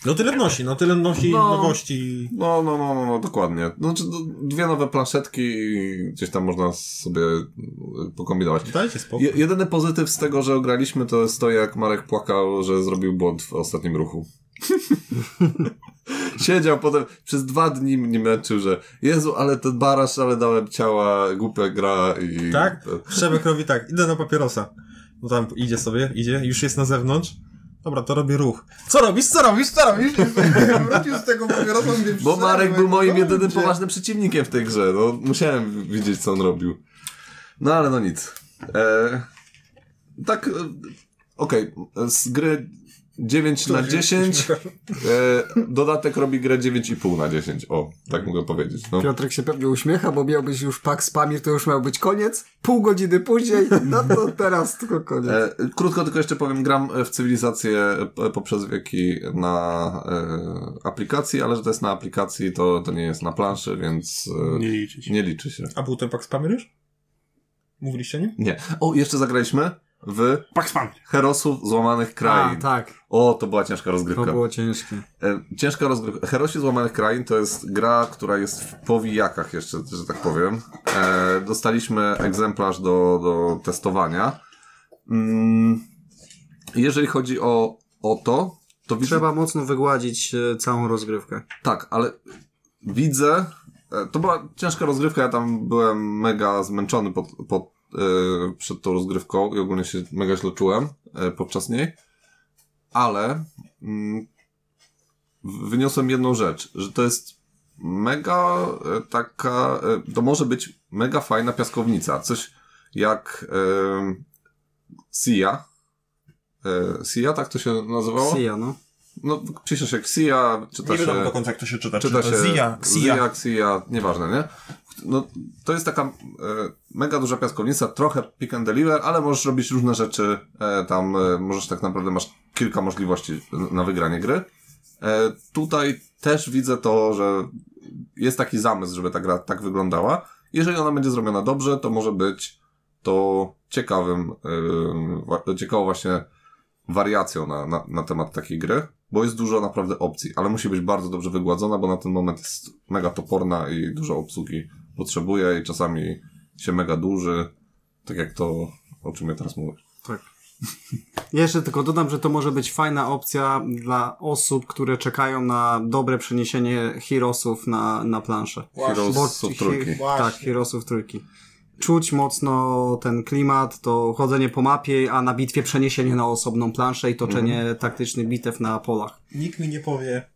No tyle wnosi, no tyle wnosi
No.
nowości.
No, no, no, no, no, dokładnie. Znaczy, no, dwie nowe planszetki i gdzieś tam można sobie e, pokombinować.
Dajcie spokój.
Je, jedyny pozytyw z tego, że graliśmy, to jest to, jak Marek płakał, że zrobił błąd w ostatnim ruchu. Siedział potem przez dwa dni mnie męczył, że Jezu, ale ten barasz, ale dałem ciała, głupia gra i...
Tak? Przemek robi tak, idę na papierosa. No tam idzie sobie, idzie, już jest na zewnątrz. Dobra, to robię ruch. Co robisz, co robisz, co robisz?
Wrócił z tego papierosa, mówię,
Bo Marek był moim
no,
jedynym
gdzie?
poważnym przeciwnikiem w tej grze. No, musiałem widzieć, co on robił. No ale no nic. E, tak, e, okej, z gry 9 na 10, e, dodatek robi grę 9,5 na 10. O, tak mogę powiedzieć. No.
Piotrek się pewnie uśmiecha, bo miał być już pak z pamir, to już miał być koniec. Pół godziny później, no to teraz tylko koniec.
E, krótko tylko jeszcze powiem, gram w cywilizację e, poprzez wieki na e, aplikacji, ale że to jest na aplikacji, to, to nie jest na planszy, więc e,
Nie liczy się.
nie liczy się.
A był ten pak spamir już? Mówiliście o nim?
Nie. O, jeszcze zagraliśmy w
Pax Pan.
Herosów Złamanych Krain.
A, tak,
O, to była ciężka
to
rozgrywka.
było ciężkie.
E, ciężka rozgrywka. Herosi Złamanych Krain to jest gra, która jest w powijakach jeszcze, że tak powiem. E, dostaliśmy egzemplarz do, do testowania. Mm, jeżeli chodzi o, o to, to widzę...
Trzeba mocno wygładzić e, całą rozgrywkę.
Tak, ale widzę. e, To była ciężka rozgrywka. Ja tam byłem mega zmęczony pod, pod, e, przed tą rozgrywką i ogólnie się mega źle czułem e, podczas niej. Ale mm, w- wyniosłem jedną rzecz, że to jest mega e, taka. e, To może być mega fajna piaskownica. Coś jak em, Sia. E, Sia, tak to się nazywało?
Sija, no.
No, pisze się Xia, czyta
Nie
się...
wiadomo do końca, jak to się czyta.
Czyta
czy
Znaczy, się
to Zia, Xia.
Zia, Xia, nieważne, nie? No, to jest taka e, mega duża piaskownica, trochę pick and deliver, ale możesz robić różne rzeczy e, tam, e, możesz tak naprawdę, masz kilka możliwości na wygranie gry. E, tutaj też widzę to, że jest taki zamysł, żeby ta gra tak wyglądała. Jeżeli ona będzie zrobiona dobrze, to może być to ciekawym, e, wa- ciekawą właśnie wariacją na, na, na temat takiej gry, bo jest dużo naprawdę opcji, ale musi być bardzo dobrze wygładzona, bo na ten moment jest mega toporna i dużo obsługi potrzebuje i czasami się mega dłuży, tak jak to, o czym ja teraz mówię.
Jeszcze tylko dodam, że to może być fajna opcja dla osób, które czekają na dobre przeniesienie Heroesów na, na planszę.
Heroes
Bo-
of trójki.
he- Tak, Heroesów trójki. Czuć mocno ten klimat, to chodzenie po mapie, a na bitwie przeniesienie na osobną planszę i toczenie taktycznych bitew na polach.
Nikt mi nie powie,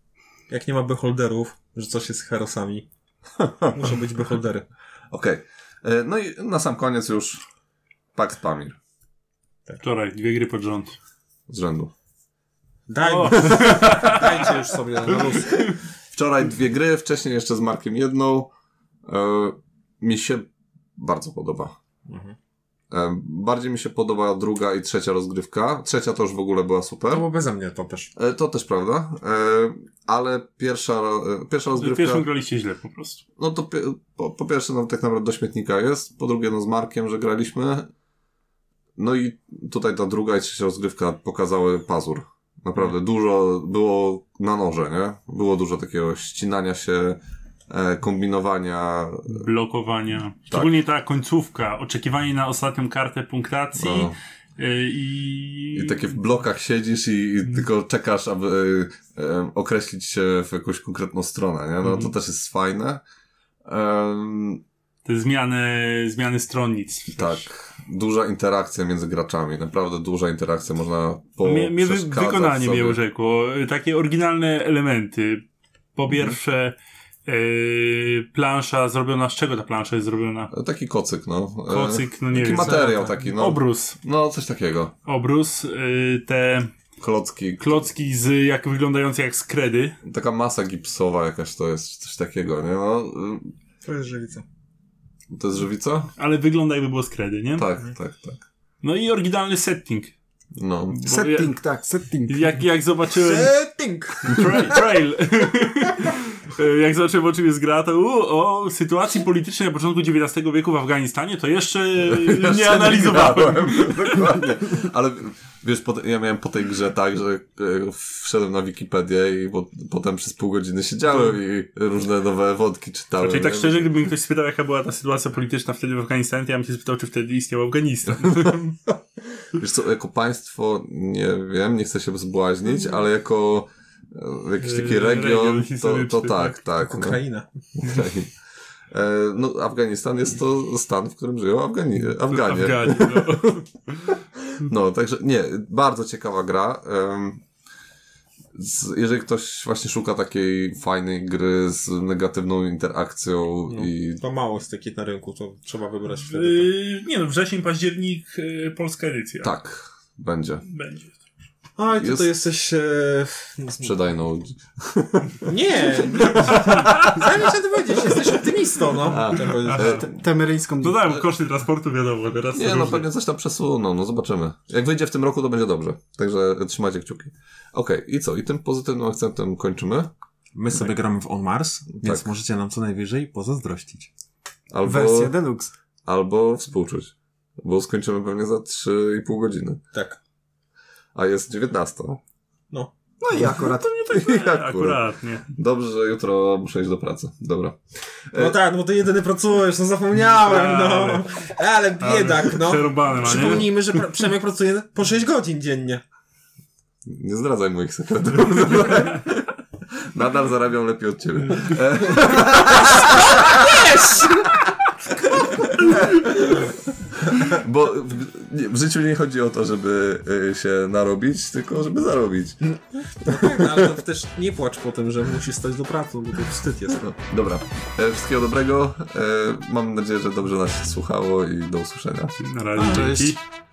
jak nie ma beholderów, że coś jest z herosami. Muszą być beholdery.
Okej. E, No i na sam koniec już Pax Pamir
Tak. Wczoraj dwie gry pod rząd.
z rzędu.
Daj
O.
mi, dajcie już sobie na luz.
Wczoraj dwie gry, wcześniej jeszcze z Markiem jedną. E, Mi się bardzo podoba.
Mhm.
E, Bardziej mi się podoba druga i trzecia rozgrywka. Trzecia to już w ogóle była super.
No bo beze mnie to też.
E, To też prawda, e, ale pierwsza, e, pierwsza rozgrywka,
Pierwszą graliście źle po prostu.
no to pie, po, po pierwsze no, tak naprawdę do śmietnika jest, po drugie no z Markiem, że graliśmy, no i tutaj ta druga i trzecia rozgrywka pokazały pazur. Naprawdę
Mhm.
dużo było na noże, nie? Było dużo takiego ścinania się, e, kombinowania,
Blokowania.
Tak.
Szczególnie ta końcówka. Oczekiwanie na ostatnią kartę punktacji.
no,
y, I... Mhm.
i takie w blokach siedzisz i, i tylko czekasz, aby e, e, określić się w jakąś konkretną stronę, nie? No to
Mhm.
też jest fajne. Em,
Te zmiany, zmiany stronnic. też.
Tak, duża interakcja między graczami, naprawdę duża interakcja, można po
Mnie, mnie wy,
przeszkadzać
wykonanie
sobie.
mnie urzekło. Y, Takie oryginalne elementy.
Mhm.
Po pierwsze, y, plansza zrobiona. Z czego ta plansza jest zrobiona?
Taki kocyk, no. E,
Kocyk, no nie
taki
wiem.
materiał taki, no.
Obrus.
No, coś takiego.
Obrus. y, Te
Klocki,
klocki z jak wyglądające jak skredy.
taka masa gipsowa jakaś to jest, czy coś takiego, nie? No, y,
To jest żywica.
to jest żywica?
Ale wygląda jakby było skredy, nie?
Tak, tak, tak.
No i oryginalny setting.
No,
Bo
Setting, tak, setting.
Ja, jak, jak zobaczyłem
Setting!
tra trail, jak zobaczyłem o czym jest gra, to u, o sytuacji politycznej na początku XIX wieku w Afganistanie, to jeszcze
Ja
nie
się
analizowałem.
grałem, Dokładnie. Ale wiesz, po, te- ja miałem po tej grze tak, że e, wszedłem na Wikipedię i po, potem przez pół godziny siedziałem i różne nowe wątki czytałem.
Czyli tak
nie?
szczerze, gdyby mi ktoś spytał, jaka była ta sytuacja polityczna wtedy w Afganistanie, to ja bym się spytał, czy wtedy istniał Afganistan.
Wiesz co, jako państwo, nie wiem, nie chcę się zbłaźnić, ale jako e, jakiś taki
Yy,
region,
region
to, to
historyczny,
tak, tak. no.
Ukraina.
Ukraina. E, No, Afganistan jest to stan, w którym żyją Afgani Afganie.
Afganie no.
No, także nie, bardzo ciekawa gra. em, z- Jeżeli ktoś właśnie szuka takiej fajnej gry z negatywną interakcją
No,
i
To mało jest takich na rynku, to trzeba wybrać wtedy.
Yy, nie no, wrzesień, październik, yy, polska edycja.
tak, E, będzie.
Będzie.
A i
jest-
tutaj jesteś... E...
Sprzedajną.
Nie! Zajmij się dowiedzieć, jesteś optymistą, no. Chciałem powiedzieć.
tak.
E,
Temeryjską
Dodałem koszty transportu, wiadomo, teraz
Nie, no pewnie coś tam przesuną, no zobaczymy. Jak wyjdzie w tym roku, to będzie dobrze. Także trzymajcie kciuki. Okej, i co? I tym pozytywnym akcentem kończymy?
My sobie gramy w On Mars, więc
Tak.
możecie nam co najwyżej pozazdrościć.
Albo,
wersję deluxe.
albo współczuć. Bo skończymy pewnie za 3,5 godziny.
Tak.
A jest 19.
No i akurat.
Akurat.
Akurat, nie.
Dobrze, że jutro muszę iść do pracy. Dobra.
No tak, no bo ty jedyny pracujesz, no zapomniałem, no. Ale biedak, no.
Przerobane, ma, nie?
Przypomnijmy, że pra- Przemek pracuje po 6 godzin dziennie.
Nie zdradzaj moich sekretów. Nadal zarabiam lepiej od ciebie. E, Bo w, nie, w życiu nie chodzi o to, żeby y, się narobić, tylko żeby zarobić.
Tak, no, ale to też nie płacz po tym, że musisz stać do pracy, bo to wstyd jest.
No, dobra. E, Wszystkiego dobrego. E, Mam nadzieję, że dobrze nas się słuchało i do usłyszenia.
Na razie,
Cześć.
dzięki.